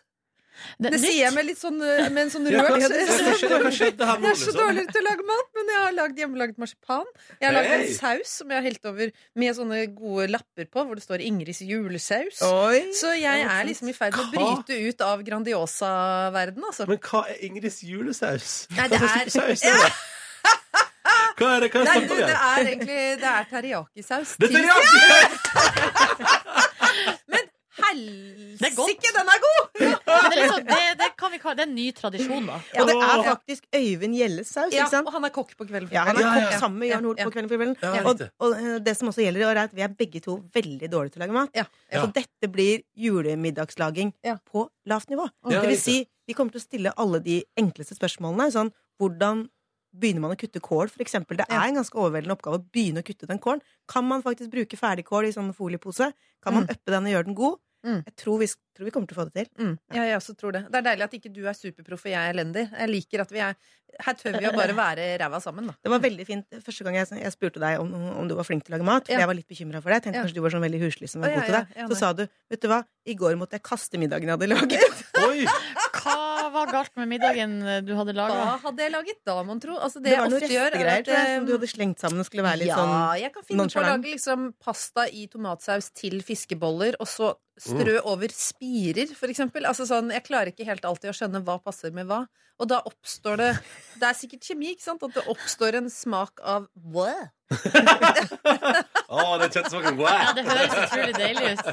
[SPEAKER 8] Det
[SPEAKER 3] nytt.
[SPEAKER 8] sier jeg med litt sånn eh, Med en sånn
[SPEAKER 2] Ja,
[SPEAKER 8] rørt
[SPEAKER 2] hva- hva skjedde- hva skjedde her nå,
[SPEAKER 8] Jeg er så
[SPEAKER 2] liksom?
[SPEAKER 8] dårlig til å lage mat, men jeg har lagd hjemmelaget marsipan. Jeg har lagd en
[SPEAKER 2] Hey!
[SPEAKER 8] saus som jeg har helt over med sånne gode lapper på, hvor det står Ingrids julesaus.
[SPEAKER 7] Oi!
[SPEAKER 8] Så jeg er liksom i ferd med å
[SPEAKER 2] Hva?
[SPEAKER 8] bryte ut av Grandiosa-verden, altså.
[SPEAKER 2] Men hva er Ingrids julesaus?
[SPEAKER 8] Nei, det
[SPEAKER 2] Hva slags
[SPEAKER 8] er-
[SPEAKER 2] type saus er det? Hva er det? Hva er det
[SPEAKER 8] Nei, du,
[SPEAKER 2] snakk om
[SPEAKER 8] det
[SPEAKER 2] igjen?
[SPEAKER 8] er egentlig Det er teriyaki-saus.
[SPEAKER 2] Det er teriyaki!
[SPEAKER 3] Det er godt.
[SPEAKER 8] Helsike, den er god!
[SPEAKER 3] Men Det, er liksom, det, det, kan vi, kalle- det er en ny tradisjon, da.
[SPEAKER 7] Og det er faktisk Øyvind Gjelles saus,
[SPEAKER 8] Ja,
[SPEAKER 7] ikke sant?
[SPEAKER 8] og han er kokk på kvelden.
[SPEAKER 7] Ja, han er
[SPEAKER 2] Ja, ja,
[SPEAKER 7] kokk
[SPEAKER 2] ja.
[SPEAKER 7] sammen med Jørn Hoel
[SPEAKER 8] Ja,
[SPEAKER 7] på
[SPEAKER 8] ja.
[SPEAKER 7] Kvelden for kvelden.
[SPEAKER 2] Ja,
[SPEAKER 7] og,
[SPEAKER 2] riktig.
[SPEAKER 7] og eh, det som også gjelder i år, er at vi er begge to veldig dårlige til å lage mat.
[SPEAKER 8] Ja.
[SPEAKER 2] Ja.
[SPEAKER 7] Så dette blir julemiddagslaging
[SPEAKER 8] Ja.
[SPEAKER 7] på lavt nivå.
[SPEAKER 2] Ja,
[SPEAKER 7] det vil
[SPEAKER 2] riktig.
[SPEAKER 7] si, vi kommer til å stille alle de enkleste spørsmålene. Sånn, hvordan begynner man å kutte kål, for eksempel? Det er en ganske overveldende oppgave å begynne å kutte den kålen. Kan man faktisk bruke ferdigkål i sånn foliepose? Kan man uppe den og gjøre den god?
[SPEAKER 8] Mm.
[SPEAKER 7] Jeg tror vi, tror vi kommer til å få det til.
[SPEAKER 8] Mm, ja, jeg også tror det. Det er deilig at ikke du er superproff og jeg er elendig. Jeg liker at vi er Her tør vi å bare være ræva sammen, da.
[SPEAKER 7] Det var veldig fint. Første gang jeg, jeg spurte deg om, om du var flink til å lage mat, for
[SPEAKER 8] Ja.
[SPEAKER 7] jeg var litt bekymra for det. Jeg tenkte
[SPEAKER 8] Ja.
[SPEAKER 7] kanskje du var sånn veldig huslig som var
[SPEAKER 8] Å, ja,
[SPEAKER 7] god til
[SPEAKER 8] ja,
[SPEAKER 7] det.
[SPEAKER 8] ja, nei.
[SPEAKER 7] så sa du, vet du hva, i går måtte jeg kaste middagen jeg hadde laget.
[SPEAKER 2] Oi!
[SPEAKER 3] Hva var galt med middagen du hadde
[SPEAKER 8] Hva
[SPEAKER 3] laga?
[SPEAKER 8] hadde jeg laget da, mon tro? Altså,
[SPEAKER 7] Det,
[SPEAKER 8] det,
[SPEAKER 7] var
[SPEAKER 8] jeg
[SPEAKER 7] noen
[SPEAKER 8] ofte gjør, er
[SPEAKER 7] restegreier
[SPEAKER 8] at
[SPEAKER 7] tror jeg, som du
[SPEAKER 8] eh,
[SPEAKER 7] hadde slengt sammen og skulle være litt
[SPEAKER 8] ja,
[SPEAKER 7] sånn
[SPEAKER 8] jeg kan finne på å
[SPEAKER 7] nonchalant.
[SPEAKER 8] lage liksom, pasta i tomatsaus til fiskeboller, og så strø
[SPEAKER 7] Mm.
[SPEAKER 8] over spirer, for eksempel. Altså, sånn, jeg klarer ikke helt alltid å skjønne hva passer med hva. Og da oppstår det Det er sikkert kjemi, ikke sant? At det oppstår en smak av blæ.
[SPEAKER 2] Å, det kjentes som en
[SPEAKER 3] Ja,
[SPEAKER 2] god
[SPEAKER 3] det høres utrolig deilig ut.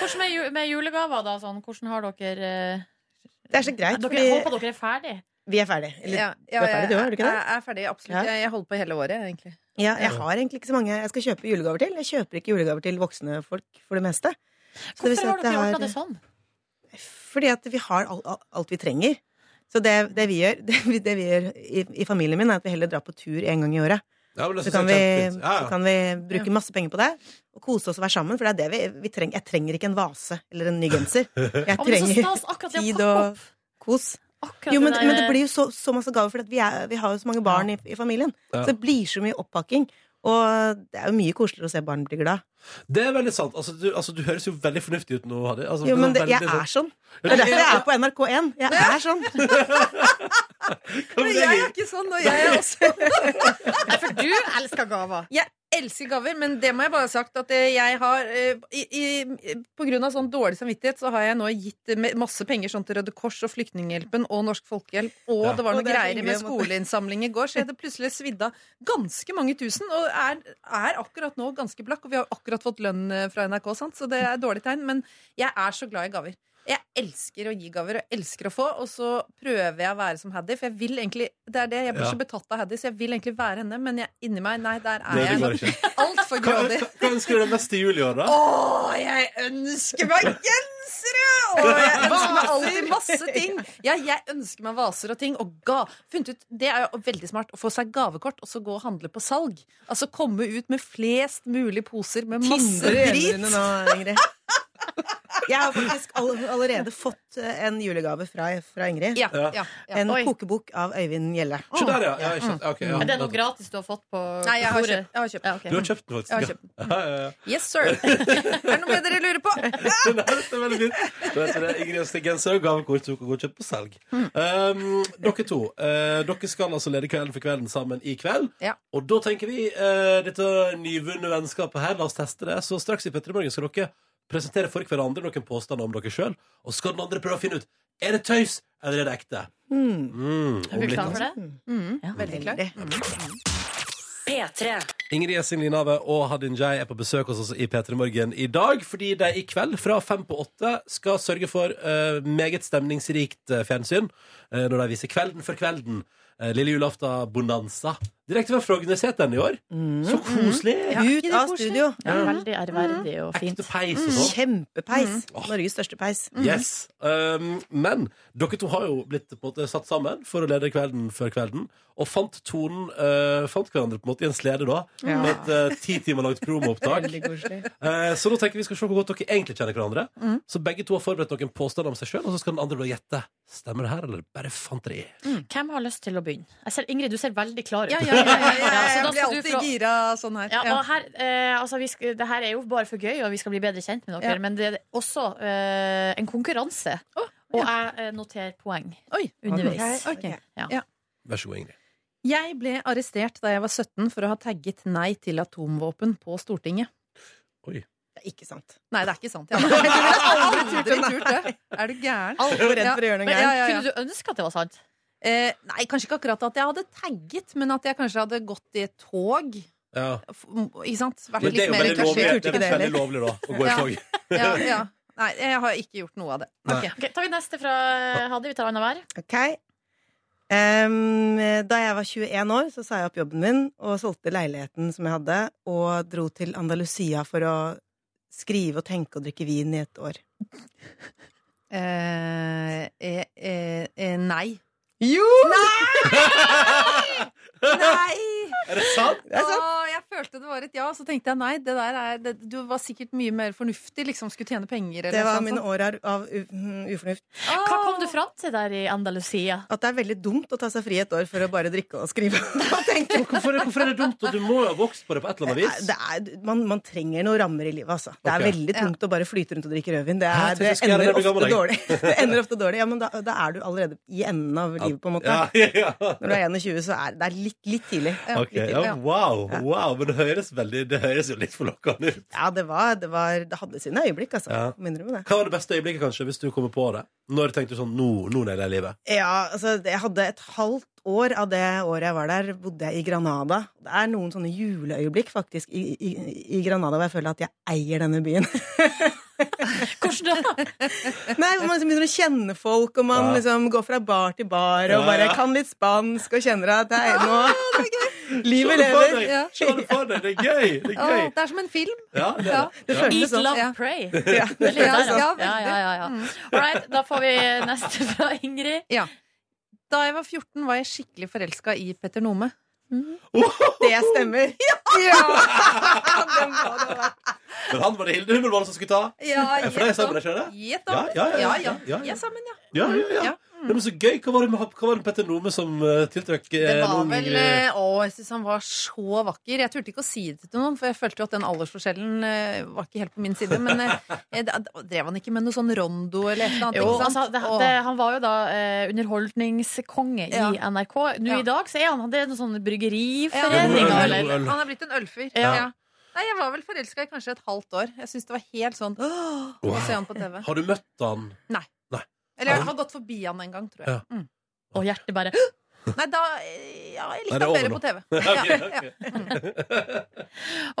[SPEAKER 3] Hvordan med, ju- med julegaver, da? Sånn? Hvordan har dere eh,
[SPEAKER 7] Det er så greit,
[SPEAKER 3] Dere
[SPEAKER 7] fordi
[SPEAKER 3] håper dere er ferdig.
[SPEAKER 7] vi er ferdig. Eller, ja.
[SPEAKER 8] Ja, ja,
[SPEAKER 7] du er ferdig,
[SPEAKER 8] jeg,
[SPEAKER 7] du, er du ikke det?
[SPEAKER 8] jeg er ferdig, absolutt.
[SPEAKER 7] Ja.
[SPEAKER 8] Jeg, jeg holder på hele året, egentlig.
[SPEAKER 7] jeg har egentlig ikke så mange jeg skal kjøpe julegaver til. Jeg kjøper ikke julegaver til voksne folk for det meste. Så det vil si
[SPEAKER 3] Hvorfor har
[SPEAKER 7] at
[SPEAKER 3] dere
[SPEAKER 7] er-
[SPEAKER 3] ordna det sånn?
[SPEAKER 7] Fordi at vi har all, all, alt vi trenger. Så det, det vi gjør, det, vi- det vi gjør i, i familien min, er at vi heller drar på tur en gang i året.
[SPEAKER 2] Ja, men det
[SPEAKER 7] Så
[SPEAKER 2] synes
[SPEAKER 7] kan,
[SPEAKER 2] jeg er
[SPEAKER 7] vi,
[SPEAKER 2] kjempefint.
[SPEAKER 7] så
[SPEAKER 2] Ja, ja.
[SPEAKER 7] kan vi bruke masse penger på det og kose oss og være sammen. For det er det vi, vi trenger. Jeg trenger ikke en vase eller en ny genser. Jeg
[SPEAKER 3] Å, men så
[SPEAKER 7] trenger
[SPEAKER 3] stas akkurat det å
[SPEAKER 7] tid
[SPEAKER 3] pakke
[SPEAKER 7] og
[SPEAKER 3] opp.
[SPEAKER 7] kos.
[SPEAKER 3] Akkurat
[SPEAKER 7] Jo, men,
[SPEAKER 3] det
[SPEAKER 7] men det blir jo så, så masse gaver, for at vi, er, vi har jo så mange barn i, i familien.
[SPEAKER 2] Ja.
[SPEAKER 7] Så det blir så mye oppakking. Og det er jo mye koseligere å se barn bli glad.
[SPEAKER 2] Det er veldig sant. Altså, du, altså, du høres jo veldig fornuftig ut nå, Hadi. Altså,
[SPEAKER 7] Jo,
[SPEAKER 2] du
[SPEAKER 7] men det,
[SPEAKER 2] veldig
[SPEAKER 7] jeg
[SPEAKER 2] sånn-
[SPEAKER 7] er sånn.
[SPEAKER 2] Ja,
[SPEAKER 7] Det
[SPEAKER 2] du
[SPEAKER 7] er derfor jeg er på NRK1. Jeg er sånn.
[SPEAKER 2] Hva med
[SPEAKER 8] Men
[SPEAKER 2] deg,
[SPEAKER 8] jeg er
[SPEAKER 2] Liv?
[SPEAKER 8] ikke sånn, og jeg er også
[SPEAKER 3] Nei, for du elsker gaver.
[SPEAKER 8] Jeg elsker gaver, men det må jeg bare ha sagt at eh, jeg har eh, i, i, På grunn av sånn dårlig samvittighet så har jeg nå gitt eh, me- masse penger sånn til Røde Kors og Flyktninghjelpen og Norsk Folkehjelp, og
[SPEAKER 2] Ja.
[SPEAKER 8] det var
[SPEAKER 7] Og
[SPEAKER 8] noen
[SPEAKER 7] det er
[SPEAKER 8] greier
[SPEAKER 7] hyggelig,
[SPEAKER 8] med
[SPEAKER 7] måtte-
[SPEAKER 8] skoleinnsamling i går, så jeg hadde plutselig svidd av ganske mange tusen, og er, er akkurat nå ganske blakk, og vi har akkurat fått lønn eh, fra NRK, sant? så det er dårlig tegn, men jeg er så glad i gaver. Jeg elsker å gi gaver og elsker å få, og så prøver jeg å være som Haddy. For jeg vil egentlig Det er det, jeg blir
[SPEAKER 2] Ja.
[SPEAKER 8] så betatt av Haddy, så jeg vil egentlig være henne, men jeg, inni meg Nei, der er
[SPEAKER 2] Nei, det
[SPEAKER 8] jeg
[SPEAKER 2] går ikke.
[SPEAKER 8] altfor
[SPEAKER 2] Hva,
[SPEAKER 8] grådig.
[SPEAKER 2] hva, hva ønsker du deg mest i jul i år, da?
[SPEAKER 8] Å, jeg ønsker meg gensere! Og jeg ønsker meg alltid masse ting. Ja, jeg ønsker meg vaser og ting. Og ga. Funnet ut, det er jo veldig smart å få seg gavekort og så gå og handle på salg. Altså komme ut med flest mulig poser med masse
[SPEAKER 7] Tindrer i
[SPEAKER 8] drit.
[SPEAKER 7] øynene nå, Ingrid. Jeg har faktisk all, allerede fått eh, en julegave fra, fra Ingrid.
[SPEAKER 8] Ja, ja, ja.
[SPEAKER 7] En
[SPEAKER 3] Oi.
[SPEAKER 7] kokebok av Øyvind Gjelle.
[SPEAKER 2] Se der, ja. ja, ikke sant. Ok, ja.
[SPEAKER 3] Er det noe gratis du har fått på
[SPEAKER 8] Nei, jeg har
[SPEAKER 3] kontoret?
[SPEAKER 8] kjøpt. Jeg har kjøpt.
[SPEAKER 3] Ja,
[SPEAKER 2] Du
[SPEAKER 3] ok.
[SPEAKER 2] har kjøpt den, faktisk.
[SPEAKER 8] Jeg har kjøpt den.
[SPEAKER 2] Ja, ja, ja.
[SPEAKER 8] Yes, sir. Er det noe mer dere lurer på?
[SPEAKER 2] Nei, det er veldig fint. Da vet vi det. Ingrid Østing Genser og gavekort som går kjøpt på salg. Um, dere to, eh, dere skal altså lede Kvelden for kvelden sammen i kveld.
[SPEAKER 8] Ja.
[SPEAKER 2] Og da tenker vi eh, dette nyvunne vennskapet her, la oss teste det. Så straks i Petter i morgen skal dere presentere for hverandre noen påstander om dere sjøl. Og så skal den andre prøve å finne ut er det tøys eller er det ekte.
[SPEAKER 7] Mm.
[SPEAKER 2] Mm, om
[SPEAKER 3] Er du
[SPEAKER 2] litt,
[SPEAKER 3] klar for
[SPEAKER 2] altså.
[SPEAKER 3] det?
[SPEAKER 8] sånn. Veldig klar.
[SPEAKER 1] P3.
[SPEAKER 2] Ingrid Gjessing Linave og Hadin Jai er på besøk hos oss i P3 Morgen i dag, fordi de i kveld fra fem på åtte skal sørge for eh, meget stemningsrikt eh, fjernsyn eh, når de viser Kvelden for kvelden. eh, lille julaften Bonanza. Direkte fra Frognerseteren i år.
[SPEAKER 3] Mm.
[SPEAKER 2] Så koselig!
[SPEAKER 7] Ut av studio.
[SPEAKER 3] Ja,
[SPEAKER 8] Mm.
[SPEAKER 3] veldig ærverdig og fint. Mm.
[SPEAKER 2] Ekte peis og sånn.
[SPEAKER 7] Kjempepeis. Norges største peis.
[SPEAKER 2] Yes. Um, men dere to har jo blitt på en måte satt sammen for å lede Kvelden før kvelden, og fant tonen eh, Fant hverandre på en måte i en slede, da,
[SPEAKER 7] Ja.
[SPEAKER 2] med et eh, ti timer langt promoopptak.
[SPEAKER 7] Veldig koselig. Mhm.
[SPEAKER 2] Eh, Så nå tenker vi skal se hvor godt dere egentlig kjenner hverandre. Så begge to har forberedt noen påstander om seg sjøl, og så skal den andre da gjette. Stemmer det her, eller bare fanteri?
[SPEAKER 3] Hvem har lyst til å begynne? Jeg ser, Ingrid, du ser veldig klar ut.
[SPEAKER 8] Ja, ja, ja, ja, ja,
[SPEAKER 3] så
[SPEAKER 8] ja.
[SPEAKER 3] da
[SPEAKER 8] Jeg blir
[SPEAKER 3] skal du
[SPEAKER 8] alltid
[SPEAKER 3] få-
[SPEAKER 8] gira sånn her.
[SPEAKER 3] Ja,
[SPEAKER 8] Ja.
[SPEAKER 3] og her, eh, altså, vi skal, det her er jo bare for gøy, og vi skal bli bedre kjent med dere.
[SPEAKER 8] Ja.
[SPEAKER 3] Men det er også eh, en konkurranse. Og jeg eh, noterer poeng
[SPEAKER 8] Oi.
[SPEAKER 3] underveis.
[SPEAKER 8] Ok, ok.
[SPEAKER 3] Ja.
[SPEAKER 8] Ja.
[SPEAKER 2] Vær så god, Ingrid.
[SPEAKER 8] Jeg ble arrestert da jeg var 17 for å ha tagget nei til atomvåpen på Stortinget.
[SPEAKER 7] Det er ikke sant.
[SPEAKER 8] Nei, det er ikke sant. Jeg hadde aldri turt, aldri turt det. Er du gæren?
[SPEAKER 7] Altfor redd
[SPEAKER 8] Ja.
[SPEAKER 7] for å gjøre noe
[SPEAKER 3] Men
[SPEAKER 8] Ja,
[SPEAKER 7] gærent.
[SPEAKER 8] ja, ja.
[SPEAKER 3] kunne du ønske at det var sant?
[SPEAKER 8] Eh, nei, kanskje ikke akkurat at jeg hadde tagget, men at jeg kanskje hadde gått i et tog.
[SPEAKER 2] Ja.
[SPEAKER 8] F- Ikke sant? Vært
[SPEAKER 2] Men det
[SPEAKER 8] litt
[SPEAKER 2] er jo
[SPEAKER 8] mer
[SPEAKER 2] veldig lovlig,
[SPEAKER 8] engasjert.
[SPEAKER 7] turte
[SPEAKER 2] det
[SPEAKER 7] ikke
[SPEAKER 2] er
[SPEAKER 7] det
[SPEAKER 2] veldig lovlig da, å gå i
[SPEAKER 8] Ja.
[SPEAKER 2] tog.
[SPEAKER 8] Ja, ja. Nei, jeg har ikke gjort noe av det.
[SPEAKER 2] Nei.
[SPEAKER 8] Ok.
[SPEAKER 3] Ok, tar vi neste fra eh, Hadde. Vi tar annenhver.
[SPEAKER 7] Ok. Ehm, da jeg var 21 år, så sa jeg opp jobben min og solgte leiligheten som jeg hadde, og dro til Andalusia for å skrive og tenke og drikke vin i et år.
[SPEAKER 8] Eh, eh, eh, eh, nei.
[SPEAKER 7] Jo!
[SPEAKER 8] Nei!
[SPEAKER 2] Er det sant?
[SPEAKER 7] Det er sant.
[SPEAKER 8] Åh, jeg følte det var et ja, så tenkte jeg nei. Det der er, det, du var sikkert mye mer fornuftig, liksom skulle tjene penger.
[SPEAKER 7] Det var mine år av- av u- mm, ufornuft.
[SPEAKER 3] Hva kom du fram til der i Andalusia?
[SPEAKER 7] At det er veldig dumt å ta seg fri et år for å bare drikke og skrive og tenke.
[SPEAKER 2] Hvorfor, hvorfor er det dumt? Og du må jo ha vokst på det på et eller annet vis.
[SPEAKER 7] Det er, man, man trenger noen rammer i livet, altså. Det er
[SPEAKER 2] Ok.
[SPEAKER 7] veldig tungt å bare flyte rundt og drikke rødvin. Det,
[SPEAKER 2] Ja,
[SPEAKER 7] er,
[SPEAKER 2] jeg tenkte jeg
[SPEAKER 7] det,
[SPEAKER 2] skulle gjøre
[SPEAKER 7] ender
[SPEAKER 2] det når jeg
[SPEAKER 7] ofte
[SPEAKER 2] blir gammel,
[SPEAKER 7] dårlig. det ender ofte dårlig. Ja, men da, da er du allerede i enden av livet, på en måte.
[SPEAKER 2] Ja, ja, ja.
[SPEAKER 7] Når du er 21, så er det er litt, litt tidlig.
[SPEAKER 2] Ok,
[SPEAKER 7] Litt tidlig.
[SPEAKER 2] ja, wow, wow, men det høres, veldig, det høres jo litt forlokkende ut.
[SPEAKER 7] Ja, det var, det var Det hadde sine øyeblikk, altså.
[SPEAKER 2] Ja.
[SPEAKER 7] Må innrømme det.
[SPEAKER 2] Hva var det beste øyeblikket, kanskje, hvis du kommer på det? Når tenkte du sånn, nå, nå nailer jeg livet?
[SPEAKER 7] Ja, altså, det- jeg hadde et halvt år av det året jeg var der, bodde jeg i Granada. Det er noen sånne juleøyeblikk, faktisk, i, i, i Granada hvor jeg føler at jeg eier denne byen.
[SPEAKER 3] Hvordan da?
[SPEAKER 7] Nei, hvor Man liksom begynner å kjenne folk, og man
[SPEAKER 2] Ja.
[SPEAKER 7] liksom går fra bar til bar og
[SPEAKER 2] Ja, ja.
[SPEAKER 7] bare kan litt spansk og kjenner at det er nå
[SPEAKER 2] Se
[SPEAKER 7] Livet
[SPEAKER 2] det for
[SPEAKER 7] lever.
[SPEAKER 2] deg!
[SPEAKER 8] Ja.
[SPEAKER 2] Se det for deg! Det er gøy! Det er gøy.
[SPEAKER 8] det er som en film.
[SPEAKER 2] Ja, det er
[SPEAKER 8] Ja.
[SPEAKER 2] det.
[SPEAKER 7] Det
[SPEAKER 2] Ja.
[SPEAKER 7] føles
[SPEAKER 3] Eat,
[SPEAKER 7] sånn.
[SPEAKER 3] love,
[SPEAKER 8] ja.
[SPEAKER 3] pray.
[SPEAKER 7] Ja.
[SPEAKER 3] Det er litt
[SPEAKER 8] Ja,
[SPEAKER 3] der, da.
[SPEAKER 8] ja,
[SPEAKER 3] ja,
[SPEAKER 8] veldig.
[SPEAKER 3] ja, ja, ja. All right, da får vi neste fra Ingrid.
[SPEAKER 8] Da jeg var 14, var jeg skikkelig forelska i Petter Nome.
[SPEAKER 7] Det stemmer.
[SPEAKER 2] Men han var det Hilde Hummelvold som skulle ta.
[SPEAKER 8] Ja,
[SPEAKER 2] For det er sammen, ikke det?
[SPEAKER 8] Gjett
[SPEAKER 2] Ja,
[SPEAKER 8] om.
[SPEAKER 2] ja, ja, ja,
[SPEAKER 8] ja.
[SPEAKER 2] ja, ja.
[SPEAKER 8] Vi er sammen, ja.
[SPEAKER 2] Ja, ja, ja.
[SPEAKER 8] Ja.
[SPEAKER 2] Nei, men så gøy. Hva var det med, hva var det med Petter Nome som uh, tiltrakk eh,
[SPEAKER 8] Det var
[SPEAKER 2] en ung,
[SPEAKER 8] vel
[SPEAKER 2] eh,
[SPEAKER 8] eh, Å, jeg syns han var så vakker. Jeg turte ikke å si det til noen, for jeg følte jo at den aldersforskjellen eh, var ikke helt på min side. Men eh, eh, da- da drev han ikke med noe sånn rondo eller et eller annet?
[SPEAKER 3] Jo,
[SPEAKER 8] ikke
[SPEAKER 3] altså,
[SPEAKER 8] sant?
[SPEAKER 3] det,
[SPEAKER 8] Åh.
[SPEAKER 3] det, han var jo da eh, underholdningskonge
[SPEAKER 8] Ja.
[SPEAKER 3] i NRK. Nå
[SPEAKER 8] Ja.
[SPEAKER 3] i dag så er han det er noen sånn
[SPEAKER 8] Ja,
[SPEAKER 3] bryggeriforening.
[SPEAKER 2] Forening,
[SPEAKER 8] han,
[SPEAKER 2] eller?
[SPEAKER 8] er blitt, han er blitt en ølfyr.
[SPEAKER 2] Ja.
[SPEAKER 8] Ja. Nei, jeg var vel forelska i kanskje et halvt år. Jeg syns det var helt sånn «Åh»,
[SPEAKER 2] Wow.
[SPEAKER 8] å se han på TV.
[SPEAKER 2] Har du møtt han?
[SPEAKER 8] Eller jeg har gått forbi han en gang, tror jeg. Mm.
[SPEAKER 3] Og hjertet bare
[SPEAKER 8] Nei, da eh, Ja, jeg
[SPEAKER 2] Nei,
[SPEAKER 8] likte
[SPEAKER 2] det er
[SPEAKER 8] han
[SPEAKER 2] over
[SPEAKER 8] bedre
[SPEAKER 2] nå.
[SPEAKER 8] på TV.
[SPEAKER 2] Ja,
[SPEAKER 8] Ja,
[SPEAKER 2] ok, ok.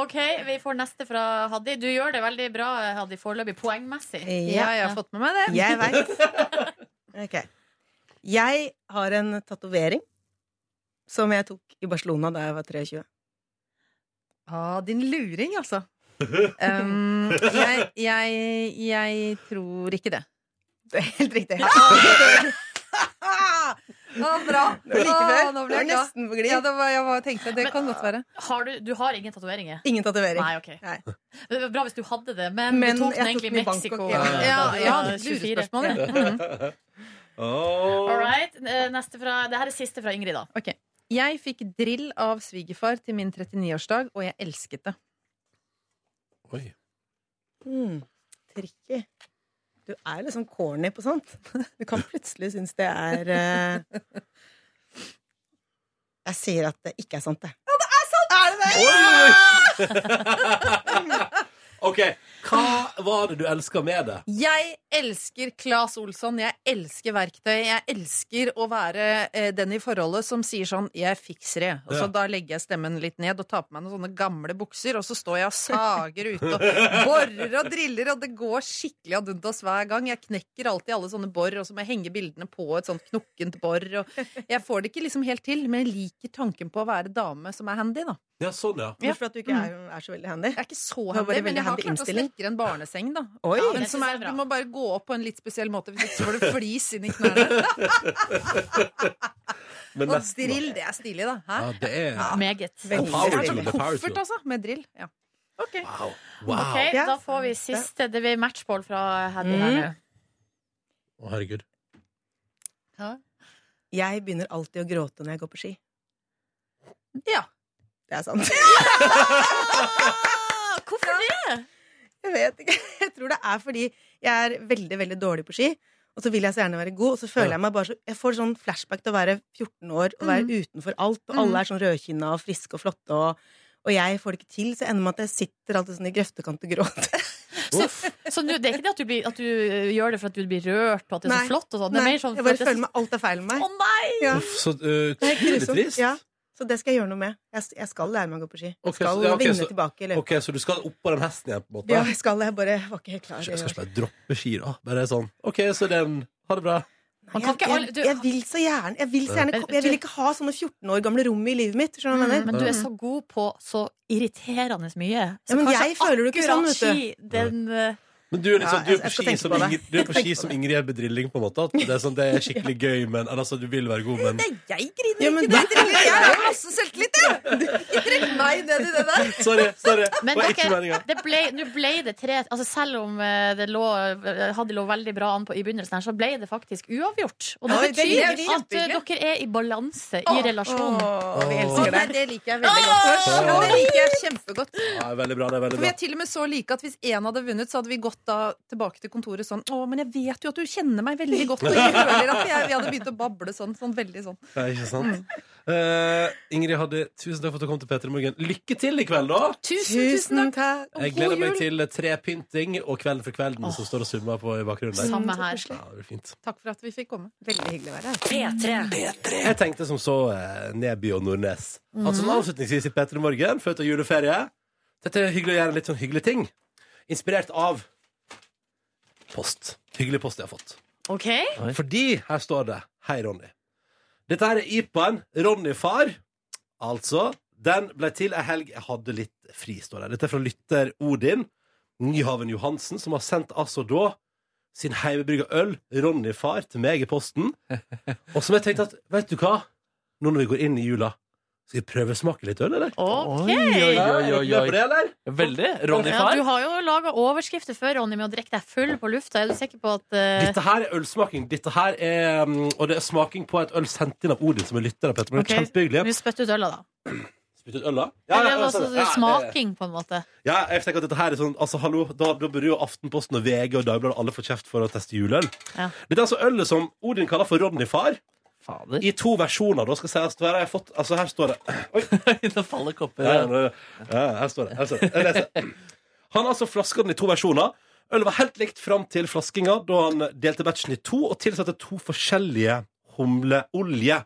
[SPEAKER 3] OK, vi får neste fra Haddy. Du gjør det veldig bra, Haddy, foreløpig poengmessig.
[SPEAKER 8] ja jeg har fått med meg det.
[SPEAKER 7] Jeg veit. Ok. Jeg har en tatovering som jeg tok i Barcelona da jeg var 23.
[SPEAKER 8] Ah, din luring, altså. Um, jeg, jeg, jeg tror ikke det.
[SPEAKER 7] Det er helt riktig.
[SPEAKER 8] Ah, bra!
[SPEAKER 7] Det var like før.
[SPEAKER 8] Å, nå ble
[SPEAKER 7] Det
[SPEAKER 8] jeg
[SPEAKER 7] var
[SPEAKER 8] glad.
[SPEAKER 7] nesten på glid.
[SPEAKER 8] Ja, det var, jeg var, tenkte det kan godt være.
[SPEAKER 3] Har du, du har ingen tatoveringer?
[SPEAKER 7] Ingen tatovering.
[SPEAKER 3] Nei, OK.
[SPEAKER 7] Nei.
[SPEAKER 3] Det var bra hvis du hadde det, men,
[SPEAKER 7] Men
[SPEAKER 3] du tok den
[SPEAKER 7] jeg tok
[SPEAKER 3] egentlig i
[SPEAKER 7] den i
[SPEAKER 3] Mexico.
[SPEAKER 7] Bangkok, ja.
[SPEAKER 3] eh,
[SPEAKER 8] Ja,
[SPEAKER 3] da,
[SPEAKER 8] ja,
[SPEAKER 3] da, 24.
[SPEAKER 8] lurespørsmål. ja. Mhm.
[SPEAKER 2] Åh.
[SPEAKER 3] All right. eh, Neste fra, det her er siste fra Ingrid, da.
[SPEAKER 8] Ok. Jeg fikk drill av svigerfar til min 39-årsdag, og jeg elsket det.
[SPEAKER 2] Oi.
[SPEAKER 7] Mm. Tricky. Du er liksom corny på sånt. Du kan plutselig synes det er eh, Jeg sier at det ikke er sant, det.
[SPEAKER 2] Oi, oi, oi. OK. Hva var det du elska med det?
[SPEAKER 8] Jeg elsker Claes Olsson, jeg elsker verktøy. Jeg elsker å være eh, den i forholdet som sier sånn 'jeg fikser det'. Og så
[SPEAKER 2] Ja.
[SPEAKER 8] Da legger jeg stemmen litt ned og tar på meg noen sånne gamle bukser, og så står jeg og sager ute og borer og driller, og det går skikkelig ad undas hver gang. Jeg knekker alltid alle sånne bor, og så må jeg henge bildene på et sånt knokkent bor. Og jeg får det ikke liksom helt til, men jeg liker tanken på å være dame som er handy, da.
[SPEAKER 2] Ja, sånn, ja.
[SPEAKER 7] Hvorfor at du
[SPEAKER 8] Mm.
[SPEAKER 7] ikke er, er så veldig handy.
[SPEAKER 8] Jeg er ikke så
[SPEAKER 7] var
[SPEAKER 8] handy,
[SPEAKER 7] bare
[SPEAKER 8] men
[SPEAKER 7] veldig
[SPEAKER 8] jeg har
[SPEAKER 7] handy
[SPEAKER 8] klart å
[SPEAKER 7] innstilling.
[SPEAKER 8] snekre en barneseng, da.
[SPEAKER 7] Oi!
[SPEAKER 8] Men
[SPEAKER 3] det
[SPEAKER 8] som
[SPEAKER 3] synes jeg
[SPEAKER 8] er,
[SPEAKER 3] er bra.
[SPEAKER 8] du må bare gå opp på en litt spesiell måte, hvis ikke så får du flis inn i knærne.
[SPEAKER 2] Men
[SPEAKER 8] Og
[SPEAKER 2] nesten, da.
[SPEAKER 8] drill, det er stilig, da. Hæ?
[SPEAKER 2] Ja, det er
[SPEAKER 3] Meget.
[SPEAKER 7] Veldig
[SPEAKER 2] Power tool,
[SPEAKER 8] Det er sånn
[SPEAKER 2] det er power
[SPEAKER 8] koffert,
[SPEAKER 2] tool.
[SPEAKER 8] altså, med drill. Ja. Ok.
[SPEAKER 2] Wow. wow.
[SPEAKER 3] Ok,
[SPEAKER 7] Ja.
[SPEAKER 3] Da får vi siste. Det blir matchball fra Haddy her
[SPEAKER 7] Mm.
[SPEAKER 3] nå.
[SPEAKER 2] Å, herregud.
[SPEAKER 7] Jeg begynner alltid å gråte når jeg går på ski.
[SPEAKER 8] Ja.
[SPEAKER 7] Det er sant.
[SPEAKER 3] Ah, Hvorfor det?
[SPEAKER 7] Jeg vet ikke. Jeg tror det er fordi jeg er veldig, veldig dårlig på ski. Og så vil jeg så gjerne være god, og så føler
[SPEAKER 2] Ja.
[SPEAKER 7] jeg meg bare så Jeg får sånn flashback til å være 14 år og være utenfor alt, og alle er sånn rødkinna og friske og flotte, og, og jeg får det ikke til, så ender det med at jeg sitter alltid sånn i grøftekant og gråter.
[SPEAKER 3] Så, så nå- det er ikke det at du, blir, at du eh, gjør det for at du blir rørt på at det er
[SPEAKER 7] Nei.
[SPEAKER 3] så flott? Og sånn. det
[SPEAKER 7] Nei,
[SPEAKER 3] er mer sånn
[SPEAKER 7] jeg
[SPEAKER 3] for
[SPEAKER 7] bare
[SPEAKER 3] at det er
[SPEAKER 7] føler
[SPEAKER 3] så-
[SPEAKER 7] meg alt er feil med
[SPEAKER 3] Å
[SPEAKER 7] meg.
[SPEAKER 3] nei!
[SPEAKER 7] Ja.
[SPEAKER 2] Uff, så uh,
[SPEAKER 7] Det er
[SPEAKER 2] utrolig
[SPEAKER 7] grusomt.
[SPEAKER 2] trist.
[SPEAKER 7] Ja. Så det skal jeg gjøre noe med. Jeg, jeg skal lære meg å gå på ski. Jeg
[SPEAKER 2] Ok, så-
[SPEAKER 7] skal
[SPEAKER 2] ja, ok,
[SPEAKER 7] vinne
[SPEAKER 2] så-
[SPEAKER 7] tilbake i løpet.
[SPEAKER 2] OK, så du skal opp på den hesten igjen, på en måte?
[SPEAKER 7] Ja, jeg skal det. Jeg bare var ikke helt klar.
[SPEAKER 2] Jeg skal ikke bare droppe ski, da. Bare sånn OK, så den Ha det bra.
[SPEAKER 3] Man kan
[SPEAKER 7] Jeg,
[SPEAKER 3] ikke alle,
[SPEAKER 7] jeg,
[SPEAKER 3] du,
[SPEAKER 7] jeg vil så gjerne Jeg vil, så gjerne,
[SPEAKER 3] Men
[SPEAKER 7] jeg vil
[SPEAKER 3] du- Mm.
[SPEAKER 7] ikke ha sånne 14 år gamle rom i livet mitt. Skjønner du hva jeg mener?
[SPEAKER 3] men du er så god på så irriterende mye. Så
[SPEAKER 7] Ja, men
[SPEAKER 3] kanskje
[SPEAKER 7] jeg føler det ikke
[SPEAKER 3] akkurat
[SPEAKER 7] sånn, vet du.
[SPEAKER 3] ski, Den, eh,
[SPEAKER 2] Men du er litt
[SPEAKER 7] Ja,
[SPEAKER 2] sånn, du er
[SPEAKER 7] jeg-
[SPEAKER 2] på
[SPEAKER 7] jeg skal
[SPEAKER 2] ski
[SPEAKER 7] tenke
[SPEAKER 2] som
[SPEAKER 7] på det.
[SPEAKER 2] Ingrid, du er på
[SPEAKER 7] Jeg
[SPEAKER 2] ski
[SPEAKER 7] tenker
[SPEAKER 2] som
[SPEAKER 7] på det.
[SPEAKER 2] Ingrid er bedrilling, på en måte. At det er, sånn, det er skikkelig gøy, men eller, altså, du vil være god, men
[SPEAKER 8] Jeg griner
[SPEAKER 7] Ja, men
[SPEAKER 8] ikke, det driller. Jeg har masse selvtillit, jeg! Ikke trekk meg ned i det der.
[SPEAKER 2] Sorry, sorry. Det
[SPEAKER 3] men
[SPEAKER 2] var ikke
[SPEAKER 3] dere,
[SPEAKER 2] meninga.
[SPEAKER 3] det ble, nå ble det tre altså Selv om eh, det lå, eh, hadde lå veldig bra an på, i begynnelsen, her, så ble det faktisk uavgjort. Og det
[SPEAKER 7] Oi, det
[SPEAKER 3] betyr
[SPEAKER 7] er
[SPEAKER 3] at eh,
[SPEAKER 8] kjempehyggelig.
[SPEAKER 3] dere er i balanse i relasjonen.
[SPEAKER 7] Åh,
[SPEAKER 8] Å,
[SPEAKER 7] vi elsker
[SPEAKER 8] nei,
[SPEAKER 7] deg.
[SPEAKER 8] det liker jeg veldig godt.
[SPEAKER 2] Åh!
[SPEAKER 8] Ja, det liker jeg kjempegodt.
[SPEAKER 2] Ja, veldig bra, det er veldig
[SPEAKER 8] For vi
[SPEAKER 2] bra.
[SPEAKER 8] er til og med så like at hvis én hadde vunnet, så hadde vi gått da tilbake til kontoret sånn Å, men jeg vet jo at du kjenner meg veldig godt, og jeg føler at jeg, vi hadde begynt å bable sånn. Sånn veldig sånn.
[SPEAKER 2] Ja, ikke
[SPEAKER 7] Mm.
[SPEAKER 2] sant? Eh, Ingrid Hadde, tusen takk for at du kom til P3 Morgen. Lykke til i kveld, da!
[SPEAKER 8] Tusen, tusen
[SPEAKER 7] Tusen
[SPEAKER 8] takk.
[SPEAKER 7] takk.
[SPEAKER 2] Jeg gleder meg til trepynting og Kvelden for kvelden som står og summer på i bakgrunnen. der.
[SPEAKER 3] Samme her.
[SPEAKER 2] Ja, det blir fint.
[SPEAKER 8] Takk for at vi fikk komme.
[SPEAKER 7] Veldig hyggelig å være her.
[SPEAKER 1] P3.
[SPEAKER 2] Jeg tenkte som så eh, Neby og Nordnes. Altså sånn Avslutningsvis i P3 Morgen, før av juleferie. Dette er hyggelig å gjøre litt sånn hyggelige ting. Inspirert av post. Hyggelig post jeg har fått.
[SPEAKER 3] OK?
[SPEAKER 4] Oi.
[SPEAKER 2] Fordi her står det Hei, Ronny. Dette her er IPA-en Ronny-far. Altså, den ble til ei helg jeg hadde litt fri, står det. Dette er fra lytter Odin Nyhaven Johansen, som har sendt altså da sin hjemmebrygga øl, Ronny-far, til meg i posten. Og som jeg tenkte at, vet du hva, nå når vi går inn i jula, Skal vi prøvesmake litt øl, eller?
[SPEAKER 3] OK!
[SPEAKER 4] Oi,
[SPEAKER 2] Ja,
[SPEAKER 4] oi,
[SPEAKER 2] er
[SPEAKER 4] oi,
[SPEAKER 2] du med på
[SPEAKER 4] oi.
[SPEAKER 2] det, eller?
[SPEAKER 4] Veldig. Ronny
[SPEAKER 3] Ja, du
[SPEAKER 4] Far.
[SPEAKER 3] har jo laga overskrifter før, Ronny, med å drikke deg full på lufta. Er du sikker på at eh,
[SPEAKER 2] Dette her er ølsmaking. Dette her er, mm, og det er smaking på et øl sendt inn av Odin, som er lytter av Petter. Men det er
[SPEAKER 3] Ok.
[SPEAKER 2] Kjempehyggelig.
[SPEAKER 3] Vi spytter ut øla, da.
[SPEAKER 2] Spytt ut øl, da.
[SPEAKER 3] Eller er det
[SPEAKER 2] altså,
[SPEAKER 3] også
[SPEAKER 2] ja, det-
[SPEAKER 3] smaking, på en måte.
[SPEAKER 2] Ja, jeg tenker at dette her er sånn Altså, hallo, da, da burde jo Aftenposten og VG og Dagbladet alle få kjeft for å teste juleøl.
[SPEAKER 3] Ja.
[SPEAKER 2] Dette er altså ølet som Odin kaller for Ronny Far.
[SPEAKER 4] Fader.
[SPEAKER 2] I to versjoner. da skal jeg si Her har jeg fått Altså, her står det
[SPEAKER 4] Det faller kopper.
[SPEAKER 2] Ja, ja, ja, ja, her står det. Her står det. Jeg leser. Han har altså flaska den i to versjoner. Ølet var helt likt fram til flaskinga, da han delte batchen i to og tilsatte to forskjellige humleolje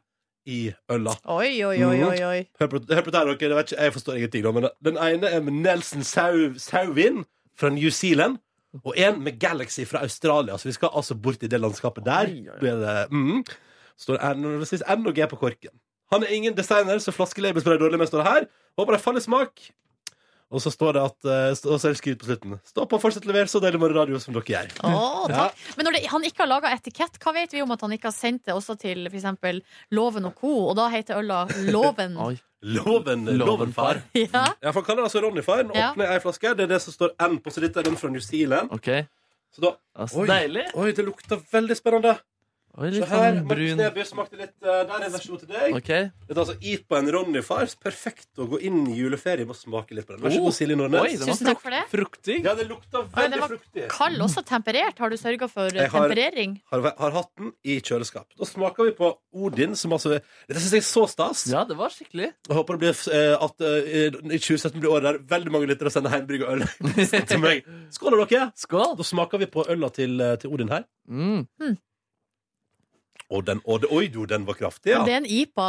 [SPEAKER 2] i øla.
[SPEAKER 3] Oi, oi, oi, oi. oi.
[SPEAKER 2] Hør på, hør på det her, dere. Jeg, vet ikke, jeg forstår ingenting, da, men den ene er med Nelson Sau, Sauvin fra New Zealand. Og en med Galaxy fra Australia, så vi skal altså bort i det landskapet der.
[SPEAKER 4] Oi, oi, oi.
[SPEAKER 2] Blir det, mm, står N og G på korken. Han er ingen designer, så flaskelabel spiller dårlig med, står det her. Håper det faller i smak. Og så står det at eh, st- Og så er det skryt på slutten. Stå på og fortsett å levere så deilig morgenradio som dere gjør.
[SPEAKER 3] Å,
[SPEAKER 2] Ja.
[SPEAKER 3] takk. Men når det, han ikke har laga etikett, hva vet vi om at han ikke har sendt det også til f.eks. Loven og co., og da heter øla Loven?
[SPEAKER 4] Oi.
[SPEAKER 2] Loven, loven, far.
[SPEAKER 3] ja.
[SPEAKER 2] Ja, for han kaller det altså Ronny, far. Nå
[SPEAKER 3] Ja.
[SPEAKER 2] åpner jeg ei flaske. Det er det som står N på, så dette er den fra New Zealand.
[SPEAKER 4] OK.
[SPEAKER 2] Så da
[SPEAKER 4] Altså,
[SPEAKER 2] Oi.
[SPEAKER 4] deilig.
[SPEAKER 2] Oi, det lukter veldig spennende.
[SPEAKER 4] Oi,
[SPEAKER 2] Se
[SPEAKER 4] litt
[SPEAKER 2] her,
[SPEAKER 4] sånn
[SPEAKER 2] Markus
[SPEAKER 4] brun
[SPEAKER 2] Neby smakte litt eh, Der er versjon til deg.
[SPEAKER 4] OK.
[SPEAKER 2] Dette er altså IPA en Ronny Fars. Perfekt å gå inn i juleferie med å smake litt på den. Vær så
[SPEAKER 4] Oh.
[SPEAKER 2] god, Silje
[SPEAKER 4] Oi,
[SPEAKER 2] Nordnes.
[SPEAKER 4] den var
[SPEAKER 3] Tusen takk for det.
[SPEAKER 4] fruktig.
[SPEAKER 2] Ja, det lukter
[SPEAKER 3] Oi, den
[SPEAKER 2] veldig
[SPEAKER 3] var-
[SPEAKER 2] fruktig.
[SPEAKER 3] Kald også temperert. Har du sørga for eh,
[SPEAKER 2] Jeg har-
[SPEAKER 3] temperering?
[SPEAKER 2] Har, har hatt den i kjøleskap. Da smaker vi på Odin, som altså Dette syns jeg er så stas.
[SPEAKER 4] Ja, det var skikkelig.
[SPEAKER 2] Jeg håper det blir eh, at eh, i 2017 blir året der veldig mange lyttere sender hjemmebrygga øl til meg. Skål, da, dere.
[SPEAKER 4] Skål.
[SPEAKER 2] Da smaker vi på øla til, eh, til Odin her.
[SPEAKER 4] Mm.
[SPEAKER 2] Og den, og, oi, jo, den var kraftig, ja.
[SPEAKER 3] Det er en IPA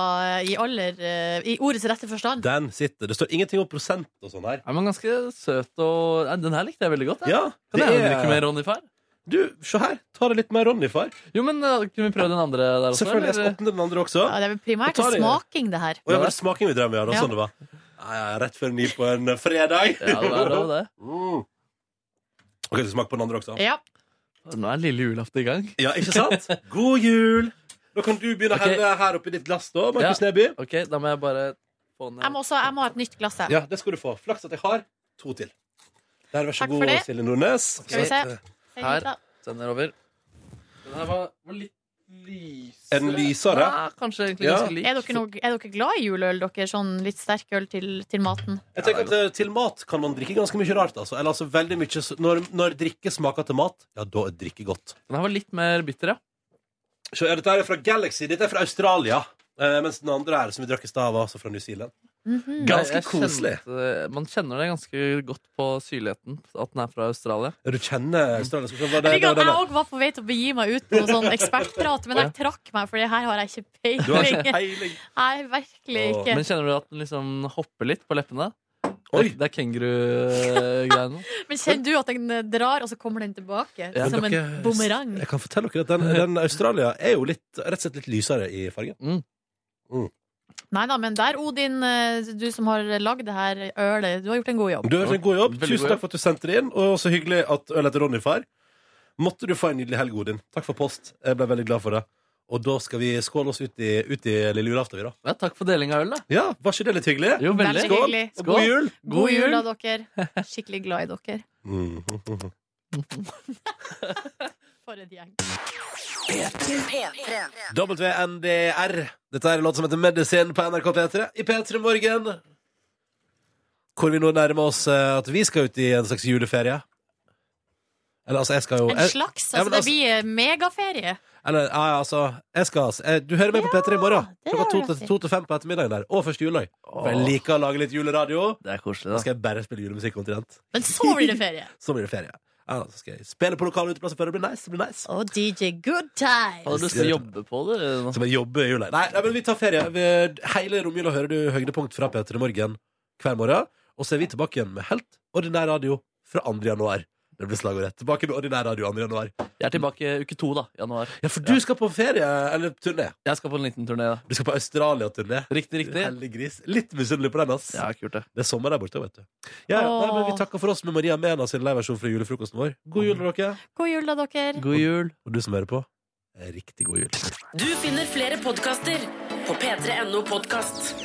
[SPEAKER 3] i, aller, eh, i ordets rette forstand.
[SPEAKER 2] Den sitter. Det står ingenting om prosent og sånn her.
[SPEAKER 4] Ja, men ganske søt og Nei, Den her likte jeg veldig godt. Jeg.
[SPEAKER 2] Ja,
[SPEAKER 4] Kan jeg drikke mer Ronny Fær?
[SPEAKER 2] Du, se her. Ta det litt mer Ronny, far.
[SPEAKER 4] Jo, men eh, Kunne vi prøve den andre der også?
[SPEAKER 2] Selvfølgelig. Jeg skal
[SPEAKER 4] sånn, eller?
[SPEAKER 2] åpne den andre også.
[SPEAKER 3] Ja, det er vel primært
[SPEAKER 2] Da tar jeg-
[SPEAKER 3] smaking, det her.
[SPEAKER 2] Og jeg var smaking vi drev med, ja. Det var
[SPEAKER 3] Ja.
[SPEAKER 2] sånn det var. Ja, ja, rett før ni på en fredag.
[SPEAKER 4] Ja, det er det. det.
[SPEAKER 2] Mm. Ok, så smak på den andre også.
[SPEAKER 3] Ja.
[SPEAKER 4] Nå er lille julaften i gang.
[SPEAKER 2] Ja, ikke sant? God jul! Da kan du begynne
[SPEAKER 4] Ok.
[SPEAKER 2] å helle her oppi ditt glass, da, Markus
[SPEAKER 4] Ja.
[SPEAKER 2] Neby.
[SPEAKER 4] Ok, Da må jeg bare få eh, ned
[SPEAKER 3] Jeg må, også, jeg må ha et nytt glass. jeg.
[SPEAKER 2] Ja, det skal du få. Flaks at jeg har to til. Der, vær så
[SPEAKER 3] Takk for
[SPEAKER 2] god,
[SPEAKER 3] det.
[SPEAKER 2] Silje Nordnes.
[SPEAKER 3] Skal vi
[SPEAKER 2] eh,
[SPEAKER 3] se. Hei,
[SPEAKER 4] Her.
[SPEAKER 3] gutta.
[SPEAKER 4] Den er over. Den her var, var litt lysere.
[SPEAKER 2] Er den lysere?
[SPEAKER 4] Ja, kanskje egentlig
[SPEAKER 2] Ja.
[SPEAKER 4] ganske lik.
[SPEAKER 3] Er dere, noe, er dere glad i juleøl, dere? Sånn litt sterk øl til, til maten?
[SPEAKER 2] Jeg tenker at eh, Til mat kan man drikke ganske mye rart. Altså. Eller altså veldig mye s- når, når drikke smaker til mat, ja, da er drikke godt.
[SPEAKER 4] Den her var litt mer bitter, ja.
[SPEAKER 2] Så ja, dette her er fra Galaxy. Dette er fra Australia. Eh, mens den andre her, som vi drakk i stad, var altså fra New Zealand.
[SPEAKER 3] Mhm.
[SPEAKER 2] Ganske
[SPEAKER 4] Jeg- jeg
[SPEAKER 2] koselig.
[SPEAKER 4] kjente- man kjenner det ganske godt på syrligheten, at den er fra Australia.
[SPEAKER 2] Ja, Du kjenner Australia som var det,
[SPEAKER 3] Jeg
[SPEAKER 2] det,
[SPEAKER 3] liker
[SPEAKER 2] var
[SPEAKER 3] at jeg
[SPEAKER 2] denne.
[SPEAKER 3] òg var på vei til å begi meg ut på noe sånn ekspertprat, men jeg trakk meg, for det her har jeg ikke
[SPEAKER 2] Du har ikke
[SPEAKER 3] peiling.
[SPEAKER 2] peiling.
[SPEAKER 3] Nei, virkelig
[SPEAKER 2] Åh,
[SPEAKER 3] ikke.
[SPEAKER 4] Men kjenner du at den liksom hopper litt på leppene?
[SPEAKER 2] Oi.
[SPEAKER 4] Det, det er kengurugreiene.
[SPEAKER 3] Men kjenner du at den eh, drar, og så kommer den tilbake?
[SPEAKER 4] Ja.
[SPEAKER 3] Som en
[SPEAKER 2] Dere-
[SPEAKER 3] bumerang.
[SPEAKER 2] Jeg kan fortelle dere at den, den Australia er jo litt, rett og slett litt lysere i fargen.
[SPEAKER 3] Nei da, men der, Odin, eh, du som har lagd det her ølet, du har gjort en god jobb.
[SPEAKER 2] Du har gjort en god jobb.
[SPEAKER 4] Veldig god
[SPEAKER 2] Tusen
[SPEAKER 4] jobb.
[SPEAKER 2] takk for at du sendte det inn, og så hyggelig at øl heter Ronny far. Måtte du få en nydelig helg, Odin. Takk for post. Jeg ble veldig glad for det. Og da skal vi skåle oss ut i, ut i lille julaften, vi, da.
[SPEAKER 4] Ja, takk for deling av øl, da.
[SPEAKER 2] Ja, var ikke det litt hyggelig?
[SPEAKER 4] Jo, veldig.
[SPEAKER 3] Veldig hyggelig.
[SPEAKER 2] Og God jul!
[SPEAKER 3] God jul, da, dere. Skikkelig glad i dere.
[SPEAKER 2] Mm.
[SPEAKER 3] For en gjeng.
[SPEAKER 2] WNDR. Dette er en låt som heter Medisin på NRK P3 i P3 Morgen. Hvor vi nå nærmer oss eh, at vi skal ut i en slags juleferie. Eller altså, jeg skal jo
[SPEAKER 3] En
[SPEAKER 2] jeg,
[SPEAKER 3] slags.
[SPEAKER 2] Ja,
[SPEAKER 3] Altså,
[SPEAKER 2] men
[SPEAKER 3] det
[SPEAKER 2] altså-
[SPEAKER 3] blir eh, megaferie.
[SPEAKER 2] eller, ja, ja, altså, jeg skal altså eh, Du hører meg på P3 i morgen.
[SPEAKER 3] det
[SPEAKER 2] Klokka
[SPEAKER 3] har
[SPEAKER 2] to
[SPEAKER 3] du rett
[SPEAKER 2] til-
[SPEAKER 3] i.
[SPEAKER 2] to til fem på ettermiddagen der. Og første juledag. For jeg
[SPEAKER 4] Åh.
[SPEAKER 2] liker å lage litt juleradio.
[SPEAKER 4] Det er
[SPEAKER 2] Da
[SPEAKER 4] koselig, da.
[SPEAKER 2] skal jeg bare spille julemusikk omtrent.
[SPEAKER 3] Men så blir det ferie.
[SPEAKER 2] Så blir det ferie. Ja, så skal jeg spille på lokale uteplasser før det blir nice. Det blir nice.
[SPEAKER 3] Og DJ Good Time.
[SPEAKER 4] Har du lyst til å jobbe på det? eller noe?
[SPEAKER 2] Som en jobbe i jula. Nei, nei, men vi tar ferie. Vi, hele romjula hører du høydepunkt fra P3 Morgen hver morgen. Og så er vi tilbake igjen med helt ordinær radio fra 2. januar. Det blir slagordet. Tilbake med ordinær radio 2. januar.
[SPEAKER 4] Jeg er tilbake uke to, da. Januar.
[SPEAKER 2] Ja, for du skal på ferie, eller turné.
[SPEAKER 4] Jeg skal på en liten turné. da.
[SPEAKER 2] Du skal på Australia-turné.
[SPEAKER 4] Riktig, riktig.
[SPEAKER 2] Hellig gris. Litt misunnelig på den, ass.
[SPEAKER 4] Ja, kult, det.
[SPEAKER 2] Det er sommer der borte, vet du. Ja, ja, nei, men vi
[SPEAKER 3] Åh.
[SPEAKER 2] takker for oss med Maria Mena sin liveversjon fra julefrokosten vår. God jul, dere.
[SPEAKER 3] God jul, da, dere.
[SPEAKER 4] God jul.
[SPEAKER 2] Og du som hører på, riktig god jul.
[SPEAKER 1] Du finner flere podkaster på p3.no podkast.